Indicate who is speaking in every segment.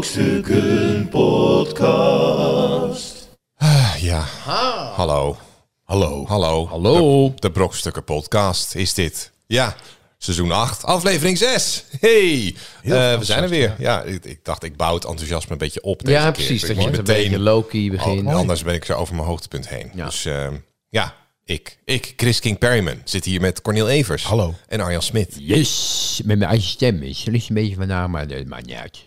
Speaker 1: Brokstukken Podcast.
Speaker 2: Ja. Hallo. Hallo. Hallo.
Speaker 3: Hallo.
Speaker 2: De, de Brokstukken Podcast is dit. Ja. Seizoen 8, aflevering 6. Hey. Eh, we zijn er weer. Ja, ik, ik dacht, ik bouw het enthousiasme een beetje op. Deze
Speaker 3: Ja,
Speaker 2: keer.
Speaker 3: precies.
Speaker 2: Ik
Speaker 3: Dat je Oh,
Speaker 2: moet
Speaker 3: met een beetje Loki begint.
Speaker 2: Al- anders ben ik zo over mijn hoogtepunt heen.
Speaker 3: Ja.
Speaker 2: Dus ehm, ja, ik, ik, Chris King Perryman, zit hier met Cornel Evers.
Speaker 4: Hallo.
Speaker 2: En Arjan Smit.
Speaker 3: Yes, met mijn eigen stem. Het ligt een beetje vandaan, maar dat maakt niet uit.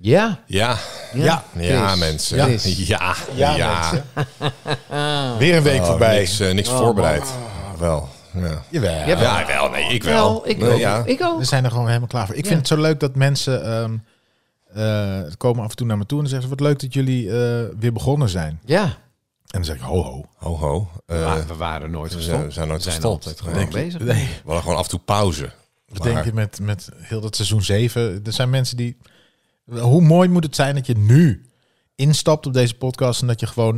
Speaker 3: Ja,
Speaker 2: Ja.
Speaker 4: Ja,
Speaker 2: Ja,
Speaker 3: Chris.
Speaker 2: mensen.
Speaker 3: Ja.
Speaker 2: Ja. Ja.
Speaker 4: Ja, weer een week voorbij.
Speaker 2: Niks, eh,
Speaker 3: Oh,
Speaker 2: niks voorbereid. Wel. Ja.
Speaker 4: Jawel.
Speaker 2: Ja, wel. Nee, ik wel.
Speaker 3: wel, ik
Speaker 2: Nee,
Speaker 3: ook.
Speaker 2: ja.
Speaker 3: Ik ook.
Speaker 4: We zijn er gewoon helemaal klaar voor. Ik vind het zo leuk dat mensen ehm, eh, komen af en toe naar me toe en zeggen: Wat leuk dat jullie eh, weer begonnen zijn. En
Speaker 3: Ja,
Speaker 4: dan zeg ik: Ho, ho.
Speaker 2: Ho, ho. Eh,
Speaker 3: Maar we waren nooit
Speaker 2: we
Speaker 3: gestopt.
Speaker 2: zijn, we zijn nooit
Speaker 3: We zijn
Speaker 2: gestopt.
Speaker 3: altijd
Speaker 2: Nee.
Speaker 3: gewoon bezig.
Speaker 2: We hadden gewoon af en toe pauze.
Speaker 4: Wat
Speaker 2: Maar-
Speaker 4: denk je met, met heel dat seizoen 7? Er zijn mensen die. Hoe mooi moet het zijn dat je nu instapt op deze podcast en dat je gewoon.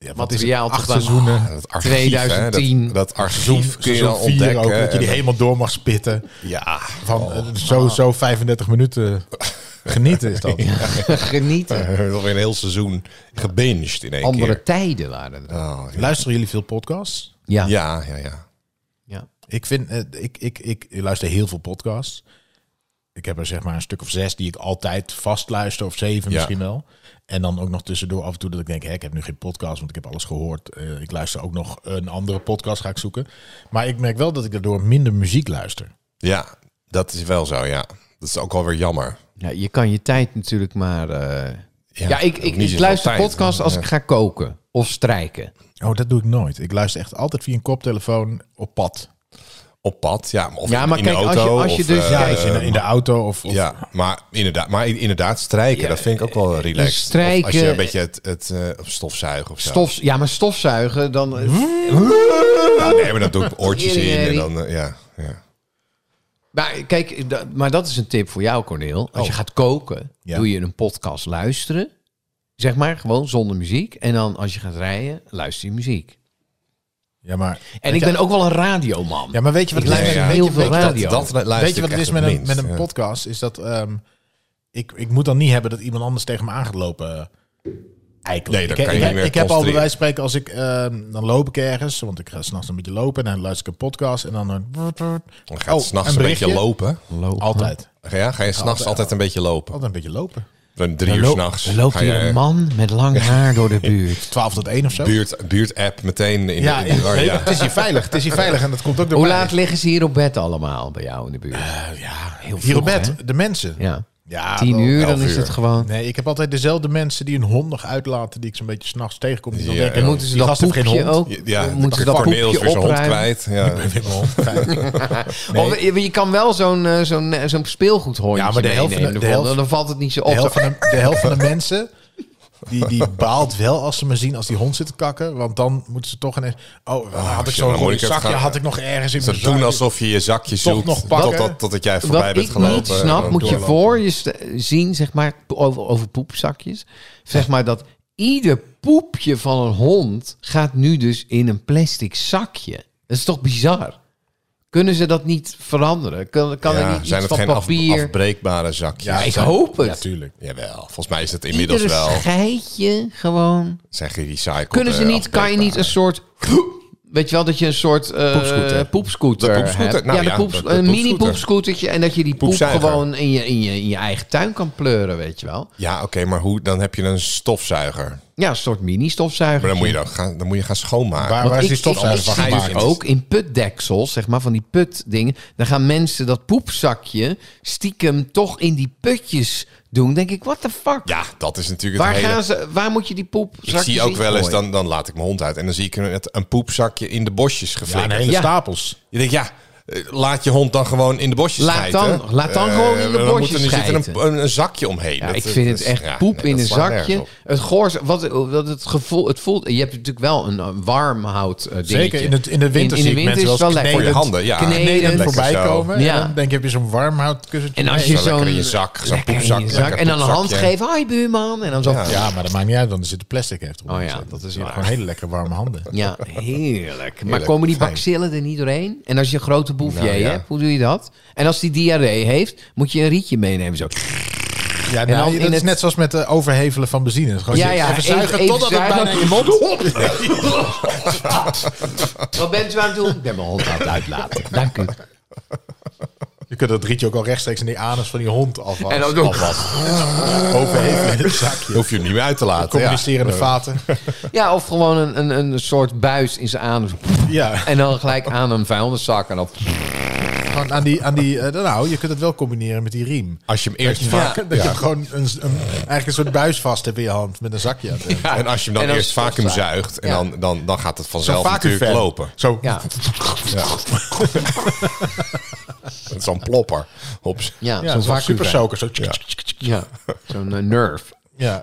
Speaker 4: Ja, wat is het,
Speaker 3: Materiaal
Speaker 4: acht
Speaker 3: tot aan-
Speaker 4: seizoenen.
Speaker 2: Ja, dat archief, hè,
Speaker 3: 2010
Speaker 2: dat, dat archief
Speaker 4: Seizoen-
Speaker 2: kun je
Speaker 4: seizoen
Speaker 2: dan
Speaker 4: vier
Speaker 2: ontdekken.
Speaker 4: ook, dat je die
Speaker 2: En- Oh,
Speaker 4: helemaal door mag spitten.
Speaker 2: Ja.
Speaker 4: Van eh, zo, zo 35 minuten genieten is dat.
Speaker 3: Genieten.
Speaker 2: Nog weer een heel seizoen gebinged in één
Speaker 3: Andere
Speaker 2: keer.
Speaker 3: tijden waren er.
Speaker 2: Oh, ja.
Speaker 4: Luisteren jullie veel podcasts?
Speaker 3: Ja. ja.
Speaker 2: Ja, ja, ja.
Speaker 4: Ik vind, eh, ik, ik, ik, luister heel veel podcasts. Ik heb er zeg maar een stuk of zes die ik altijd vast luister, of zeven
Speaker 2: Ja.
Speaker 4: misschien wel. En dan ook nog tussendoor af en toe dat ik denk, hè, ik heb nu geen podcast, want ik heb alles gehoord. Eh, ik luister ook nog een andere podcast, ga ik zoeken. Maar ik merk wel dat ik daardoor minder muziek luister.
Speaker 2: Ja, dat is wel zo, ja. Dat is ook wel weer jammer.
Speaker 3: je kan je tijd natuurlijk maar... eh, Ja, ik,
Speaker 2: ook
Speaker 3: ik,
Speaker 2: niet
Speaker 3: ik
Speaker 2: zoveel
Speaker 3: luister
Speaker 2: tijd.
Speaker 3: podcasts als ik ga koken of strijken.
Speaker 4: Oh, dat doe ik nooit. Ik luister echt altijd via een koptelefoon op pad.
Speaker 2: Op pad, ja. Of
Speaker 3: Ja,
Speaker 2: in-
Speaker 3: maar
Speaker 2: in
Speaker 3: kijk,
Speaker 2: de
Speaker 3: als je-
Speaker 2: auto.
Speaker 3: als je
Speaker 2: of,
Speaker 3: dus-
Speaker 2: eh,
Speaker 4: Ja, dus in, de- in de auto of... of
Speaker 2: ja, maar inderdaad, maar inderdaad strijken, dat vind ik ook wel relaxed.
Speaker 3: dus strijken-
Speaker 2: Of als je een beetje het, het eh, stofzuigen of zo.
Speaker 3: Stof, ja, maar stofzuigen, dan... eh,
Speaker 2: Hm? Ja, nee, maar dan doe ik oortjes in en dan, eh, ja. ja.
Speaker 3: Maar kijk, da- maar dat is een tip voor jou, Corneel. Als je
Speaker 2: Oh.
Speaker 3: gaat koken,
Speaker 4: Ja.
Speaker 3: doe je een podcast luisteren. Zeg maar, gewoon zonder muziek. En dan als je gaat rijden, luister je muziek.
Speaker 4: ja, maar,
Speaker 3: En ik ben ook wel een radioman.
Speaker 4: ja, maar weet je wat
Speaker 3: ik
Speaker 4: het is?
Speaker 3: luister
Speaker 2: ja, ja.
Speaker 4: Weet je-
Speaker 3: heel
Speaker 4: weet
Speaker 3: veel
Speaker 4: je-
Speaker 3: radio.
Speaker 2: Dat luister
Speaker 4: Weet je
Speaker 2: ik
Speaker 4: wat het is
Speaker 2: echt
Speaker 4: met
Speaker 2: het
Speaker 4: een, met
Speaker 2: minst,
Speaker 4: een
Speaker 2: ja.
Speaker 4: podcast? Is dat ehm, ik, ik moet dan niet hebben dat iemand anders tegen me aan gaat lopen. Eigenlijk.
Speaker 2: Nee, dan
Speaker 4: ik,
Speaker 2: kan
Speaker 4: ik,
Speaker 2: je niet
Speaker 4: ik-
Speaker 2: meer
Speaker 4: ik heb al bij
Speaker 2: concentreren.
Speaker 4: wijze van spreken, als ik ehm, dan loop ik ergens, want ik ga s'nachts een beetje lopen en dan luister ik een podcast en dan eh, een,
Speaker 2: Dan gaat
Speaker 4: Oh,
Speaker 2: het s'nachts
Speaker 4: een
Speaker 2: een beetje
Speaker 4: berichtje?
Speaker 2: lopen.
Speaker 3: Lopen.
Speaker 4: altijd,
Speaker 2: Ja, ga je s'nachts altijd een beetje lopen.
Speaker 4: altijd een beetje lopen.
Speaker 2: Dan drie uur
Speaker 3: Lo-
Speaker 2: s'nachts.
Speaker 3: Er loopt
Speaker 2: ga je-
Speaker 3: hier een man met lang haar door de buurt.
Speaker 4: 12 tot 1 of zo.
Speaker 2: Buurt, buurt-app meteen in
Speaker 4: Ja,
Speaker 2: de, in de war,
Speaker 4: nee,
Speaker 2: ja.
Speaker 4: het is hier veilig. Het is hier veilig en dat komt ook door
Speaker 3: Hoe
Speaker 4: mij.
Speaker 3: laat liggen ze hier op bed allemaal bij jou in de buurt?
Speaker 4: Ja,
Speaker 3: Heel
Speaker 4: hier op
Speaker 3: vroeg,
Speaker 4: bed,
Speaker 3: hè?
Speaker 4: de mensen.
Speaker 3: Ja.
Speaker 4: Ja,
Speaker 3: Tien
Speaker 4: wel.
Speaker 3: uur,
Speaker 2: elf
Speaker 3: dan is het
Speaker 2: uur.
Speaker 3: gewoon...
Speaker 4: Nee, ik heb altijd dezelfde mensen die een hond nog uitlaten, die ik zo'n beetje s'nachts tegenkom. Die dan
Speaker 2: Ja,
Speaker 4: denken, "Oh,
Speaker 2: en
Speaker 3: Moeten ze
Speaker 4: die
Speaker 3: dat
Speaker 4: gast heeft geen
Speaker 3: poepje
Speaker 4: hond.
Speaker 3: ook?
Speaker 2: Ja,
Speaker 3: moeten ze dat
Speaker 2: Corneel is
Speaker 3: poepje
Speaker 2: weer zijn hond
Speaker 3: opruimen?
Speaker 2: kwijt. Ja.
Speaker 4: Ik heb een hond. Fijn.
Speaker 3: Of, je, je kan wel zo'n eh, zo'n eh, zo'n speelgoedhondje
Speaker 4: Ja, maar de helft van de-
Speaker 3: meenemen.
Speaker 4: de helft-
Speaker 3: dan valt het niet zo op.
Speaker 4: De helft van de, de, helft van de mensen. Die, die baalt wel als ze me zien als die hond zit te kakken. Want dan moeten ze toch ineens... Oh, had ik
Speaker 2: shit,
Speaker 4: zo'n
Speaker 2: dan moet
Speaker 4: rode
Speaker 2: ik het
Speaker 4: zakje,
Speaker 2: gaan-
Speaker 4: had ik nog ergens in
Speaker 2: Ze
Speaker 4: mijn
Speaker 2: doen
Speaker 4: zak.
Speaker 2: alsof je je zakje
Speaker 4: Toch
Speaker 2: zoekt
Speaker 4: nog pakken.
Speaker 2: totdat, totdat jij
Speaker 3: Wat
Speaker 2: voorbij
Speaker 3: ik
Speaker 2: bent gelopen.
Speaker 3: niet
Speaker 2: en
Speaker 3: snap,
Speaker 4: eh,
Speaker 2: dan
Speaker 3: moet je
Speaker 2: doorlopen.
Speaker 3: voor je st- zien, zeg maar, over, over poepzakjes. Zeg maar dat ieder poepje van een hond gaat nu dus in een plastic zakje. Dat is toch bizar? Kunnen ze dat niet veranderen? Kan, kan er
Speaker 2: Ja,
Speaker 3: niet
Speaker 2: zijn het
Speaker 3: iets van
Speaker 2: geen af-
Speaker 3: papier...
Speaker 2: afbreekbare zakjes?
Speaker 4: Ja,
Speaker 3: ik hoop
Speaker 4: Ja,
Speaker 3: het.
Speaker 4: tuurlijk.
Speaker 2: Jawel, volgens mij is dat inmiddels
Speaker 3: Iedere
Speaker 2: wel.
Speaker 3: scheitje gewoon...
Speaker 2: Zeg je recycled.
Speaker 3: Kunnen ze
Speaker 2: eh,
Speaker 3: niet, kan je niet een soort... Weet je wel, dat je een soort eh,
Speaker 2: Poepscooter. De
Speaker 3: poepscooter
Speaker 2: poepscooter,
Speaker 3: hebt.
Speaker 2: nou
Speaker 3: ja, de
Speaker 2: ja,
Speaker 3: poeps-
Speaker 2: de- de
Speaker 3: een
Speaker 2: poepscooter.
Speaker 3: mini poepscootertje. En dat je die poep
Speaker 2: Poepzuiger.
Speaker 3: gewoon in je, in, je, in je eigen tuin kan pleuren, weet je wel.
Speaker 2: Ja, oké, maar hoe? Dan heb je een stofzuiger.
Speaker 3: Ja, een soort mini stofzuiger.
Speaker 2: Maar dan moet je, dan gaan, dan moet je gaan schoonmaken.
Speaker 4: Waar, waar is die stofzuiger van
Speaker 3: ik zie
Speaker 4: gemaakt?
Speaker 3: dus ook in putdeksels, zeg maar, van die putdingen. Dan gaan mensen dat poepzakje stiekem toch in die putjes doen. Dan denk ik, what the fuck?
Speaker 2: Ja, dat is natuurlijk
Speaker 3: waar,
Speaker 2: het hele...
Speaker 3: gaan ze, waar moet je die poepzakjes
Speaker 2: ik zie ook
Speaker 3: in
Speaker 2: wel eens,
Speaker 3: gooien?
Speaker 2: dan, dan laat ik mijn hond uit. En dan zie ik een, een poepzakje in de bosjes
Speaker 4: Ja, een
Speaker 2: geflikkerd.
Speaker 4: hele
Speaker 3: Ja.
Speaker 4: stapels.
Speaker 2: Je denkt, ja, eh, laat je hond dan gewoon in de bosjes
Speaker 3: Laat
Speaker 2: schijten.
Speaker 3: dan- laat dan
Speaker 2: Eh,
Speaker 3: gewoon in de
Speaker 2: dan moet
Speaker 3: bosjes
Speaker 2: er- Er zit er
Speaker 3: schijten.
Speaker 2: een, een, een zakje omheen.
Speaker 3: Ja,
Speaker 2: Dat- eh,
Speaker 3: ik
Speaker 2: dat
Speaker 3: vind
Speaker 2: is-
Speaker 3: het echt
Speaker 2: ja,
Speaker 3: poep
Speaker 2: nee,
Speaker 3: in
Speaker 2: dat
Speaker 3: een
Speaker 2: slaat nergens
Speaker 3: zakje.
Speaker 2: op.
Speaker 3: Het goor, wat, wat het gevoel, het voelt. Je hebt natuurlijk wel een, eh, warm hout eh, dingetje.
Speaker 4: Zeker in, het, in de winter
Speaker 3: In- in
Speaker 4: zie
Speaker 3: de winter
Speaker 4: ik mensen
Speaker 3: is het
Speaker 4: wel
Speaker 3: wel lekker.
Speaker 2: Voor je
Speaker 3: het-
Speaker 2: handen, ja.
Speaker 3: kneden.
Speaker 2: Zo
Speaker 4: kneden
Speaker 3: Lekker
Speaker 4: voorbij
Speaker 2: zo.
Speaker 4: komen.
Speaker 3: Ja.
Speaker 4: En dan denk je, heb je zo'n warmhoutkussentje.
Speaker 3: En als
Speaker 4: mee.
Speaker 3: je
Speaker 2: lekker
Speaker 3: zo'n
Speaker 2: in je zak, zo'n
Speaker 3: lekker in je
Speaker 2: poepzak,
Speaker 3: zak.
Speaker 2: lekker
Speaker 3: En dan een hand
Speaker 2: poepzakje.
Speaker 3: geven. Hoi buurman. En dan zo.
Speaker 2: Ja.
Speaker 3: Ja,
Speaker 4: Ja, maar dat maakt niet uit, want er zit plastic heeft erop.
Speaker 3: Oh ja,
Speaker 4: Dus
Speaker 3: dat is
Speaker 4: je hebt
Speaker 3: waar.
Speaker 4: gewoon hele lekker warme handen.
Speaker 3: heerlijk. Maar
Speaker 2: Heerlijk,
Speaker 3: komen die
Speaker 2: fijn.
Speaker 3: bacillen er niet doorheen? En als je een grote bouffier
Speaker 2: Nou, ja.
Speaker 3: hebt, hoe doe je dat? En als die diarree heeft, moet je een rietje meenemen. Zo.
Speaker 4: Ja,
Speaker 3: dan
Speaker 4: nou,
Speaker 3: in
Speaker 4: dat is
Speaker 3: het-
Speaker 4: net zoals met eh, overhevelen van benzine. Gewoon
Speaker 3: Ja, ja,
Speaker 4: even zuigen
Speaker 3: even-
Speaker 4: totdat
Speaker 3: even
Speaker 4: het bijna in je mond...
Speaker 3: Wat bent u aan het doen? Ik ben mijn hond aan het uitlaten. Dank u.
Speaker 4: Je kunt dat rietje ook al rechtstreeks in die anus van die hond afwassen.
Speaker 3: En dan doen-
Speaker 4: Overhevelen in het zakje.
Speaker 2: Dan hoef je hem niet meer uit te laten. Ja.
Speaker 4: Communicerende vaten.
Speaker 3: Ja, of gewoon een, een, een soort buis in zijn adem.
Speaker 4: Ja,
Speaker 3: En dan gelijk aan een vuilniszak. En dan...
Speaker 4: gewoon aan die... Aan die eh, nou, je kunt het wel combineren met die riem.
Speaker 2: Als je hem eerst
Speaker 4: Ja,
Speaker 2: vaak...
Speaker 4: dat
Speaker 2: ja.
Speaker 4: je gewoon een, een- eigenlijk een soort buis vast hebt in je hand met een zakje. aan het eind.
Speaker 2: En als je hem dan
Speaker 3: En dan
Speaker 2: eerst vacuüm
Speaker 3: stofzuigen.
Speaker 2: zuigt... en
Speaker 3: Ja.
Speaker 2: dan, dan, dan gaat het
Speaker 4: Zo'n
Speaker 2: vanzelf natuurlijk
Speaker 4: vacuümfan.
Speaker 2: lopen.
Speaker 4: Zo.
Speaker 3: Ja,
Speaker 2: Dat is Zo'n plopper. Hops.
Speaker 3: ja,
Speaker 4: Ja,
Speaker 3: zo'n
Speaker 4: zo'n
Speaker 3: vacuüm.
Speaker 4: super soaker. Zo.
Speaker 3: Ja, zo'n eh, nerve.
Speaker 4: Ja.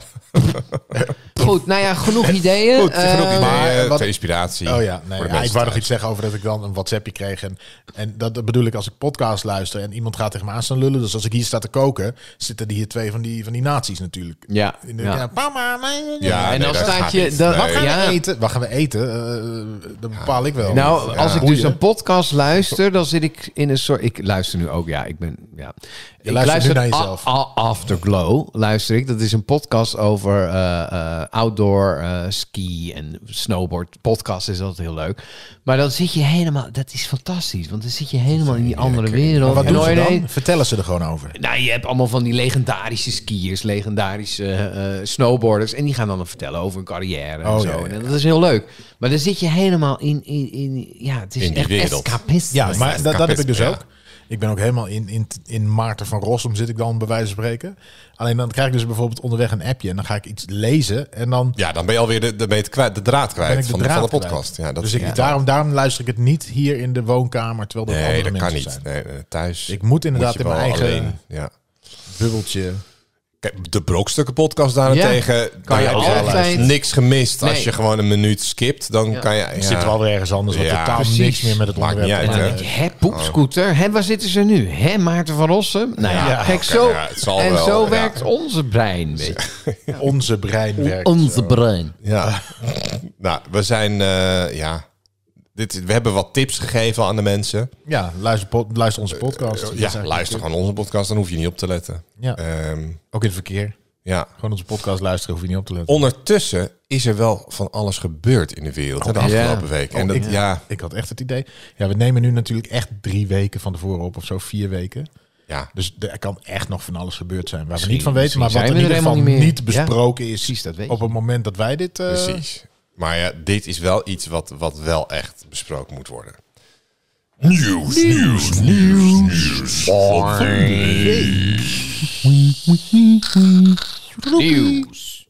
Speaker 3: Goed, nou ja, genoeg ideeën.
Speaker 4: Goed,
Speaker 3: Eh,
Speaker 2: Genoeg ideeën,
Speaker 4: wat-
Speaker 2: ter inspiratie.
Speaker 4: Oh ja,
Speaker 2: Voor
Speaker 4: nee,
Speaker 2: de
Speaker 4: ja, ik
Speaker 2: mensen
Speaker 4: wou nog
Speaker 2: thuis.
Speaker 4: iets zeggen over dat ik dan een WhatsAppje kreeg. En, en dat bedoel ik als ik podcast luister en iemand gaat tegen me aan staan lullen. Dus als ik hier sta te koken, zitten die hier twee van die, van die nazi's natuurlijk.
Speaker 3: Ja,
Speaker 4: In de-
Speaker 3: ja.
Speaker 4: ja, mama, nee,
Speaker 2: Ja,
Speaker 3: en
Speaker 2: nee,
Speaker 3: dan
Speaker 2: dat
Speaker 3: staat
Speaker 2: gaat
Speaker 3: je-
Speaker 2: niet.
Speaker 3: dat-
Speaker 2: Nee.
Speaker 3: wat
Speaker 4: Gaan we
Speaker 3: Ja.
Speaker 4: eten? Wat gaan we eten? Eh, dat bepaal ik wel.
Speaker 3: Nou,
Speaker 4: Ja.
Speaker 3: als ik
Speaker 4: Boeien.
Speaker 3: dus een podcast luister, dan zit ik in een soort. Ik luister nu ook, ja, ik ben. Ja. ik
Speaker 4: luistert nu naar jezelf.
Speaker 3: A- A- Afterglow luister ik. Dat is een podcast over eh, eh, outdoor eh, ski en snowboard. Podcast is altijd heel leuk. Maar dan zit je helemaal. Dat is fantastisch, want dan zit je helemaal in die andere wereld.
Speaker 4: Wat
Speaker 3: En
Speaker 4: doen ze
Speaker 3: hoor je
Speaker 4: dan?
Speaker 3: ineens-
Speaker 4: Vertellen ze er gewoon over.
Speaker 3: Nou, je hebt allemaal van die legendarische skiers, legendarische eh, eh, snowboarders. En die gaan dan vertellen over hun carrière en
Speaker 4: Oh,
Speaker 3: zo.
Speaker 4: ja, ja,
Speaker 3: En dat is heel leuk. Maar dan zit je helemaal in... in, in ja, het is
Speaker 2: In die
Speaker 3: echt
Speaker 2: wereld.
Speaker 3: escapisme.
Speaker 4: Ja, maar dat, dat heb ik dus
Speaker 2: Ja.
Speaker 4: ook. Ik ben ook helemaal in, in, in Maarten van Rossum zit ik dan bij wijze van spreken. Alleen dan krijg ik dus bijvoorbeeld onderweg een appje en dan ga ik iets lezen en dan
Speaker 2: Ja, dan ben je alweer de, de, ben je het kwijt, de draad
Speaker 4: ben
Speaker 2: kwijt
Speaker 4: ik de
Speaker 2: van, de,
Speaker 4: draad
Speaker 2: van de
Speaker 4: kwijt.
Speaker 2: podcast. Ja, dat
Speaker 4: dus
Speaker 2: is
Speaker 4: ik,
Speaker 2: niet waar.
Speaker 4: daarom, daarom luister ik het niet hier in de woonkamer, terwijl dat
Speaker 2: Nee,
Speaker 4: andere
Speaker 2: dat kan
Speaker 4: mensen
Speaker 2: niet.
Speaker 4: zijn.
Speaker 2: Nee, eh, thuis
Speaker 4: Ik moet
Speaker 2: moet
Speaker 4: inderdaad
Speaker 2: je
Speaker 4: in mijn
Speaker 2: wel
Speaker 4: eigen
Speaker 2: alleen, Ja.
Speaker 4: bubbeltje.
Speaker 2: Kijk, de Brokstukken podcast daarentegen,
Speaker 3: Kan
Speaker 2: daar
Speaker 3: je
Speaker 2: heb je
Speaker 3: altijd-
Speaker 2: altijd niks gemist.
Speaker 3: Nee.
Speaker 2: Als je gewoon een minuut skipt, dan
Speaker 3: Ja.
Speaker 2: kan je... Ja,
Speaker 4: Ik zit wel weer ergens anders, wat
Speaker 2: Ja,
Speaker 4: totaal
Speaker 3: precies.
Speaker 4: niks meer met het
Speaker 2: Maakt
Speaker 4: onderwerp.
Speaker 2: niet
Speaker 3: En
Speaker 2: uit,
Speaker 3: dan
Speaker 4: te
Speaker 2: hè?
Speaker 3: denk je, hè, poepscooter, hè, waar zitten ze nu? Hè, Maarten van Rossum? Nou ja,
Speaker 4: Ja,
Speaker 3: kijk,
Speaker 2: oké,
Speaker 3: zo,
Speaker 2: ja, het zal
Speaker 3: en
Speaker 2: wel,
Speaker 3: zo
Speaker 2: ja.
Speaker 3: werkt onze brein, weet je.
Speaker 4: maken. Onze brein werkt.
Speaker 3: Onze brein.
Speaker 2: Ja. nou, we zijn... eh, ja. Dit, we hebben wat tips gegeven aan de mensen.
Speaker 4: Ja, luister, po- luister onze podcast. Dat is
Speaker 2: Eh, Ja,
Speaker 4: eigenlijk-
Speaker 2: luister gewoon onze podcast, dan hoef je niet op te letten.
Speaker 4: Ja.
Speaker 2: Ehm,
Speaker 4: Ook in het verkeer.
Speaker 2: ja.
Speaker 4: Gewoon onze podcast luisteren, hoef je niet op te letten.
Speaker 2: Ondertussen is er wel van alles gebeurd in de wereld hè, de
Speaker 3: ja.
Speaker 2: afgelopen week. En dat,
Speaker 4: ik,
Speaker 2: ja,
Speaker 4: ik had echt het idee. Ja, we nemen nu natuurlijk echt drie weken van tevoren op, of zo vier weken.
Speaker 2: ja,
Speaker 4: Dus er kan echt nog van alles gebeurd zijn waar we
Speaker 3: Misschien-
Speaker 4: niet van weten, maar wat
Speaker 3: misschien
Speaker 4: in
Speaker 3: zijn
Speaker 4: ieder
Speaker 3: we er
Speaker 4: geval
Speaker 3: helemaal
Speaker 4: niet,
Speaker 3: niet meer.
Speaker 4: besproken is
Speaker 3: Precies, dat weet
Speaker 4: op het moment dat wij dit... eh,
Speaker 2: precies. Maar ja, dit is wel iets wat, wat wel echt besproken moet worden. Nieuws, nieuws, nieuws, nieuws.
Speaker 3: Nieuws.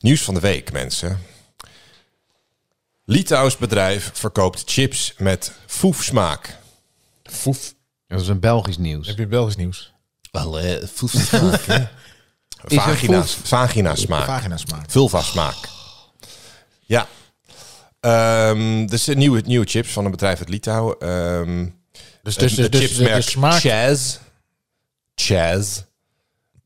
Speaker 2: Nieuws van de week, mensen. Litouws bedrijf verkoopt chips met foefsmaak. Foef.
Speaker 3: Dat is een Belgisch nieuws.
Speaker 4: Heb je Belgisch nieuws?
Speaker 2: Wel, vagina,
Speaker 3: foef?
Speaker 2: vagina smaak.
Speaker 4: Vagina smaak.
Speaker 2: Vulva smaak. Ja. Ehm dus de nieuwe, nieuwe chips van een bedrijf uit Litouwen. Ehm
Speaker 4: Dus,
Speaker 2: dus,
Speaker 4: dus, dus,
Speaker 2: de
Speaker 4: dus de,
Speaker 2: chipsmerk
Speaker 4: de smaak...
Speaker 2: Chaz. Chaz.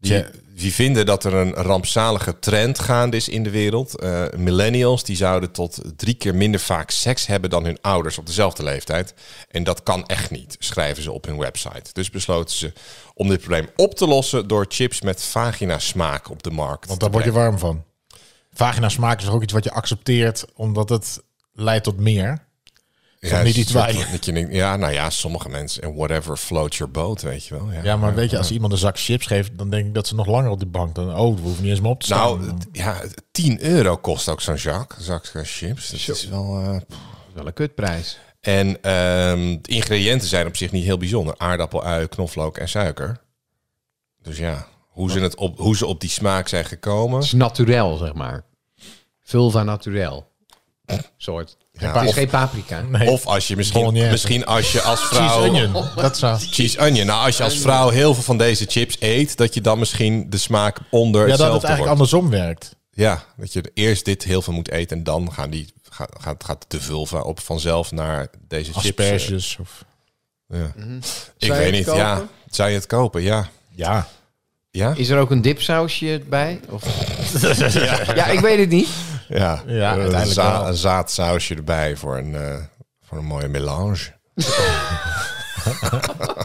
Speaker 2: Die,
Speaker 4: Chaz.
Speaker 2: die vinden dat er een rampzalige trend gaande is in de wereld. Eh, millennials die zouden tot drie keer minder vaak seks hebben dan hun ouders op dezelfde leeftijd. En dat kan echt niet, schrijven ze op hun website. Dus besloten ze om dit probleem op te lossen door chips met vagina smaak op de markt.
Speaker 4: Want
Speaker 2: te
Speaker 4: daar word je
Speaker 2: brengen.
Speaker 4: warm van. Vagina smaak is toch ook iets wat je accepteert, omdat het leidt tot meer. Is
Speaker 2: Ja,
Speaker 4: dat niet
Speaker 2: het
Speaker 4: iets
Speaker 2: is
Speaker 4: waar
Speaker 2: een
Speaker 4: je...
Speaker 2: soort dat je denkt, ja, nou ja, sommige mensen en whatever float your boat, weet je wel. Ja.
Speaker 4: Ja, maar weet je, als iemand een zak chips geeft, dan denk ik dat ze nog langer op die bank... Dan, oh, we hoeven niet eens meer op te staan.
Speaker 2: Nou, het- ja, 10 euro kost ook zo'n zak, zak eh, chips. Dat is wel. eh, pff.
Speaker 3: Wel een kutprijs.
Speaker 2: en ehm, de ingrediënten zijn op zich niet heel bijzonder: aardappel, ui, knoflook en suiker. Dus ja, hoe ze, het op, hoe ze op die smaak zijn gekomen.
Speaker 3: Het is naturel, zeg maar. Vulva naturel. soort.
Speaker 2: Ja,
Speaker 3: het is
Speaker 2: of-
Speaker 3: geen paprika.
Speaker 4: Nee,
Speaker 2: Of als je misschien,
Speaker 4: Bolognese.
Speaker 2: misschien als je als
Speaker 4: cheese
Speaker 2: vrouw...
Speaker 4: onion. Dat zou...
Speaker 2: Cheese onion. Nou, als je als vrouw heel veel van deze chips eet, dat je dan misschien de smaak onder
Speaker 4: Ja, dat het
Speaker 2: hetzelfde
Speaker 4: eigenlijk
Speaker 2: wordt.
Speaker 4: andersom werkt.
Speaker 2: Ja, dat je eerst dit heel veel moet eten en dan gaan die, gaat, gaat, gaat de vulva op vanzelf naar deze chips. eh,
Speaker 4: Asperges of...
Speaker 2: Ja. Ik
Speaker 3: Zou je
Speaker 2: weet
Speaker 3: het
Speaker 2: niet,
Speaker 3: kopen?
Speaker 2: ja. Zou je het kopen? Ja.
Speaker 4: Ja.
Speaker 2: Ja?
Speaker 3: Is er ook een dipsausje bij? Of... ja. ik weet het niet.
Speaker 2: Ja,
Speaker 4: Ja,
Speaker 2: Eh,
Speaker 4: uiteindelijk
Speaker 2: een, za-
Speaker 4: wel.
Speaker 2: een zaadsausje erbij voor een, eh, voor een mooie melange. eh,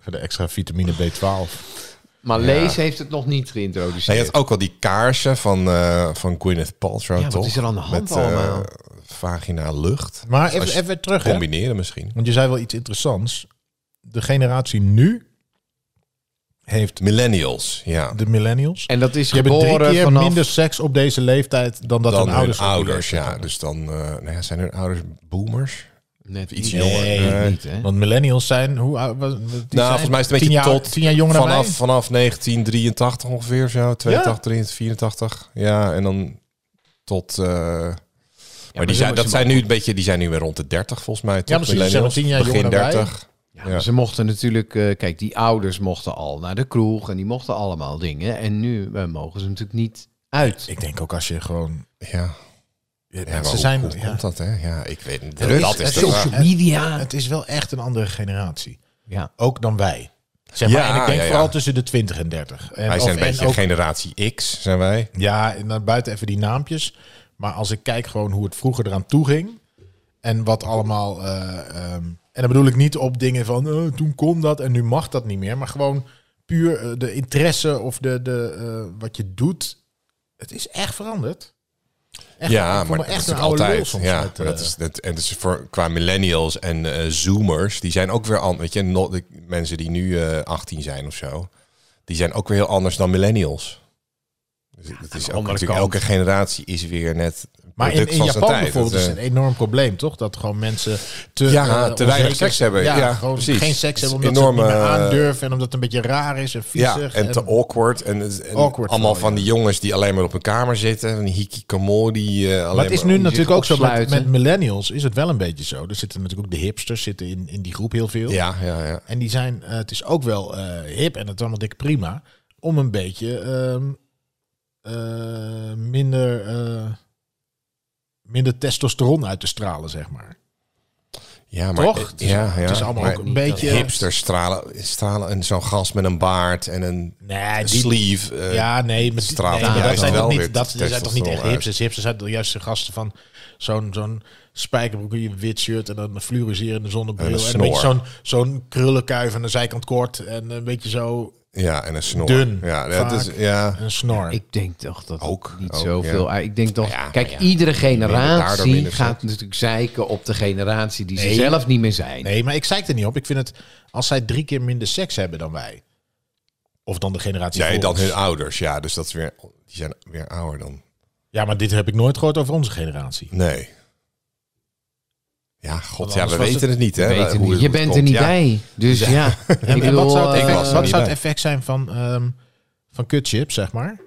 Speaker 4: Voor de extra vitamine B12.
Speaker 3: Maar Lees heeft het nog niet geïntroduceerd.
Speaker 2: Nee, je had ook al die kaarsen van, eh, van Gwyneth Paltrow,
Speaker 3: Ja, wat
Speaker 2: toch?
Speaker 3: is er aan de hand
Speaker 2: eh,
Speaker 3: allemaal?
Speaker 2: vagina lucht.
Speaker 4: Maar
Speaker 2: Als
Speaker 4: even,
Speaker 2: je
Speaker 4: even weer terug, hè?
Speaker 2: Combineren misschien.
Speaker 4: Want je zei wel iets interessants. De generatie nu heeft
Speaker 2: Millennials, ja.
Speaker 4: de millennials.
Speaker 3: En dat is
Speaker 4: Je hebben drie
Speaker 3: geboren
Speaker 4: keer
Speaker 3: vanaf...
Speaker 4: minder seks op deze leeftijd dan dat
Speaker 2: dan
Speaker 4: hun ouders op die leeftijd
Speaker 2: ja.
Speaker 4: hadden.
Speaker 2: Dus dan eh, nou ja, zijn hun ouders boomers.
Speaker 3: Net
Speaker 2: Iets
Speaker 3: niet.
Speaker 2: jonger.
Speaker 3: Nee,
Speaker 2: Nee.
Speaker 3: niet, hè?
Speaker 4: Want millennials zijn... Hoe, oud was- die zijn
Speaker 2: nou, volgens mij is het een
Speaker 4: tien
Speaker 2: beetje
Speaker 4: jaar,
Speaker 2: tot
Speaker 4: tien jaar jonger dan
Speaker 2: vanaf,
Speaker 4: wij.
Speaker 2: vanaf 1983 ongeveer zo. 82, 83, 84. Ja, en dan tot... eh, maar die
Speaker 3: zo
Speaker 2: zijn,
Speaker 3: is
Speaker 2: dat
Speaker 3: het
Speaker 2: zijn nu een beetje, die zijn nu weer rond de 30 volgens mij. toch?
Speaker 4: maar ze zijn wel
Speaker 2: Millennials,
Speaker 4: tien jaar
Speaker 2: begin
Speaker 4: jonger dan wij.
Speaker 2: 30.
Speaker 3: Ja, maar Ze mochten natuurlijk, eh, kijk, die ouders mochten al naar de kroeg en die mochten allemaal dingen. En nu eh, mogen ze natuurlijk niet uit.
Speaker 4: Ik denk ook als je gewoon...
Speaker 2: Ja,
Speaker 4: Ja,
Speaker 2: ja maar
Speaker 4: ze
Speaker 2: hoe,
Speaker 4: zijn,
Speaker 2: hoe
Speaker 4: ja.
Speaker 2: komt dat, hè? Ja, ik weet niet.
Speaker 4: is-
Speaker 2: dat
Speaker 4: het
Speaker 2: is
Speaker 4: is
Speaker 2: de
Speaker 4: ook
Speaker 2: vraag.
Speaker 4: zo-
Speaker 3: Social media.
Speaker 4: Het is wel echt een andere generatie.
Speaker 3: Ja.
Speaker 4: Ook dan wij. Zeg maar,
Speaker 2: Ja,
Speaker 4: en ik denk
Speaker 2: ja, ja.
Speaker 4: vooral tussen de 20 en 30. En,
Speaker 2: Wij
Speaker 4: of-
Speaker 2: zijn een
Speaker 4: en
Speaker 2: beetje
Speaker 4: ook-
Speaker 2: generatie X, zijn wij.
Speaker 4: Ja, en dan buiten even die naampjes. Maar als ik kijk gewoon hoe het vroeger eraan toe ging. En wat allemaal. eh, ehm, en dan bedoel ik niet op dingen van. eh, toen kon dat en nu mag dat niet meer. Maar gewoon puur eh, de interesse of de, de, eh, wat je doet. Het is echt veranderd. Echt, ik
Speaker 2: ja,
Speaker 4: voel
Speaker 2: maar
Speaker 4: me
Speaker 2: dat is
Speaker 4: echt een
Speaker 2: natuurlijk
Speaker 4: oude lul
Speaker 2: altijd.
Speaker 4: soms.
Speaker 2: ja,
Speaker 4: met,
Speaker 2: maar dat
Speaker 4: eh,
Speaker 2: is, dat, en dat is voor, qua millennials en eh, zoomers, die zijn ook weer anders. Weet je, not- de mensen die nu eh, 18 zijn of zo, die zijn ook weer heel anders dan millennials. Dus het is ook,
Speaker 4: andere
Speaker 2: natuurlijk,
Speaker 4: kant.
Speaker 2: elke generatie is weer net. een
Speaker 4: maar in,
Speaker 2: product
Speaker 4: in
Speaker 2: van zijn
Speaker 4: Japan
Speaker 2: tijd.
Speaker 4: bijvoorbeeld
Speaker 2: Dat,
Speaker 4: is
Speaker 2: eh,
Speaker 4: het een enorm probleem, toch? Dat gewoon mensen te,
Speaker 2: Ja,
Speaker 4: eh,
Speaker 2: te
Speaker 4: onzeker-
Speaker 2: weinig seks hebben. Ja,
Speaker 4: gewoon
Speaker 2: precies.
Speaker 4: geen seks
Speaker 2: Het is
Speaker 4: hebben omdat enorme, ze het niet
Speaker 2: enorme,
Speaker 4: meer
Speaker 2: eh,
Speaker 4: aandurven. En omdat het een beetje raar is en viezig.
Speaker 2: ja, en te awkward. En, het- en
Speaker 4: Awkward
Speaker 2: allemaal
Speaker 4: vooral,
Speaker 2: van
Speaker 4: ja.
Speaker 2: die jongens die alleen maar op hun kamer zitten. Van die hikikomori. eh alleen
Speaker 4: Maar het is nu
Speaker 3: om
Speaker 4: natuurlijk
Speaker 3: zich
Speaker 4: ook zo met,
Speaker 3: opsluiten.
Speaker 4: met millennials is het wel een beetje zo. Er zitten natuurlijk ook de hipsters zitten in, in die groep heel veel.
Speaker 2: Ja, ja, ja.
Speaker 4: En die zijn, eh, het is ook wel eh, hip en het is allemaal dik prima. Om een beetje ehm, eh, minder, eh, minder testosteron uit te stralen, zeg maar.
Speaker 2: Ja, maar eh,
Speaker 4: Toch? Het is-
Speaker 2: ja, ja,
Speaker 4: het is allemaal
Speaker 2: maar
Speaker 4: ook een beetje-
Speaker 2: hipsters stralen, stralen en zo'n gast met een baard en een
Speaker 4: Nee,
Speaker 2: sleeve. eh,
Speaker 4: ja, nee, met
Speaker 2: straalt
Speaker 4: nee,
Speaker 2: dan
Speaker 4: maar dat
Speaker 2: juist
Speaker 4: zijn
Speaker 2: wel
Speaker 4: toch
Speaker 2: weer
Speaker 4: niet, dat die zijn toch niet echt
Speaker 2: testosteron uit.
Speaker 4: hipsters. Hipsters zijn toch juist de gasten van zo'n zo'n spijkerbroek, een wit shirt en dan een fluoriserende zonnebril
Speaker 2: En
Speaker 4: en
Speaker 2: een
Speaker 4: een, beetje
Speaker 2: snor.
Speaker 4: zo'n zo'n krullenkuif en een zijkant kort en een beetje zo
Speaker 2: Ja, en een snor.
Speaker 4: Dun,
Speaker 2: Ja, dat
Speaker 4: vaak.
Speaker 2: is, ja.
Speaker 4: een snor.
Speaker 3: Ik denk toch dat
Speaker 2: Ook,
Speaker 3: ook, niet
Speaker 2: ook,
Speaker 3: zoveel... uit- Ik denk toch...
Speaker 2: Ja,
Speaker 3: kijk,
Speaker 2: ja.
Speaker 3: iedere
Speaker 2: daardoor minder
Speaker 3: generatie
Speaker 2: seks.
Speaker 3: gaat natuurlijk zeiken op de generatie die
Speaker 4: Nee.
Speaker 3: ze zelf niet meer zijn.
Speaker 4: nee, maar ik zeik er niet op. Ik vind het als zij drie keer minder seks hebben dan wij, of dan de generatie.
Speaker 2: Nee,
Speaker 4: voor
Speaker 2: dan
Speaker 4: ons.
Speaker 2: hun ouders. Ja, dus dat is weer, die zijn weer ouder dan.
Speaker 4: Ja, maar dit heb ik nooit gehoord over onze generatie.
Speaker 2: Nee. Ja, god,
Speaker 4: Want
Speaker 2: ja, we
Speaker 4: anders was
Speaker 2: weten
Speaker 4: het-
Speaker 2: het niet, hè?
Speaker 3: Weet
Speaker 2: eh, hoe het-
Speaker 3: je niet.
Speaker 2: hoe
Speaker 3: Je
Speaker 2: het
Speaker 3: bent er
Speaker 2: komt.
Speaker 3: niet
Speaker 2: Ja.
Speaker 3: bij. Dus ja. Ik
Speaker 4: En, en wat
Speaker 3: bedoel,
Speaker 4: zou het,
Speaker 3: eh,
Speaker 2: ik was er
Speaker 4: wat
Speaker 2: niet
Speaker 4: zou het
Speaker 2: bij.
Speaker 4: effect zijn van ehm, van kutchips, zeg maar?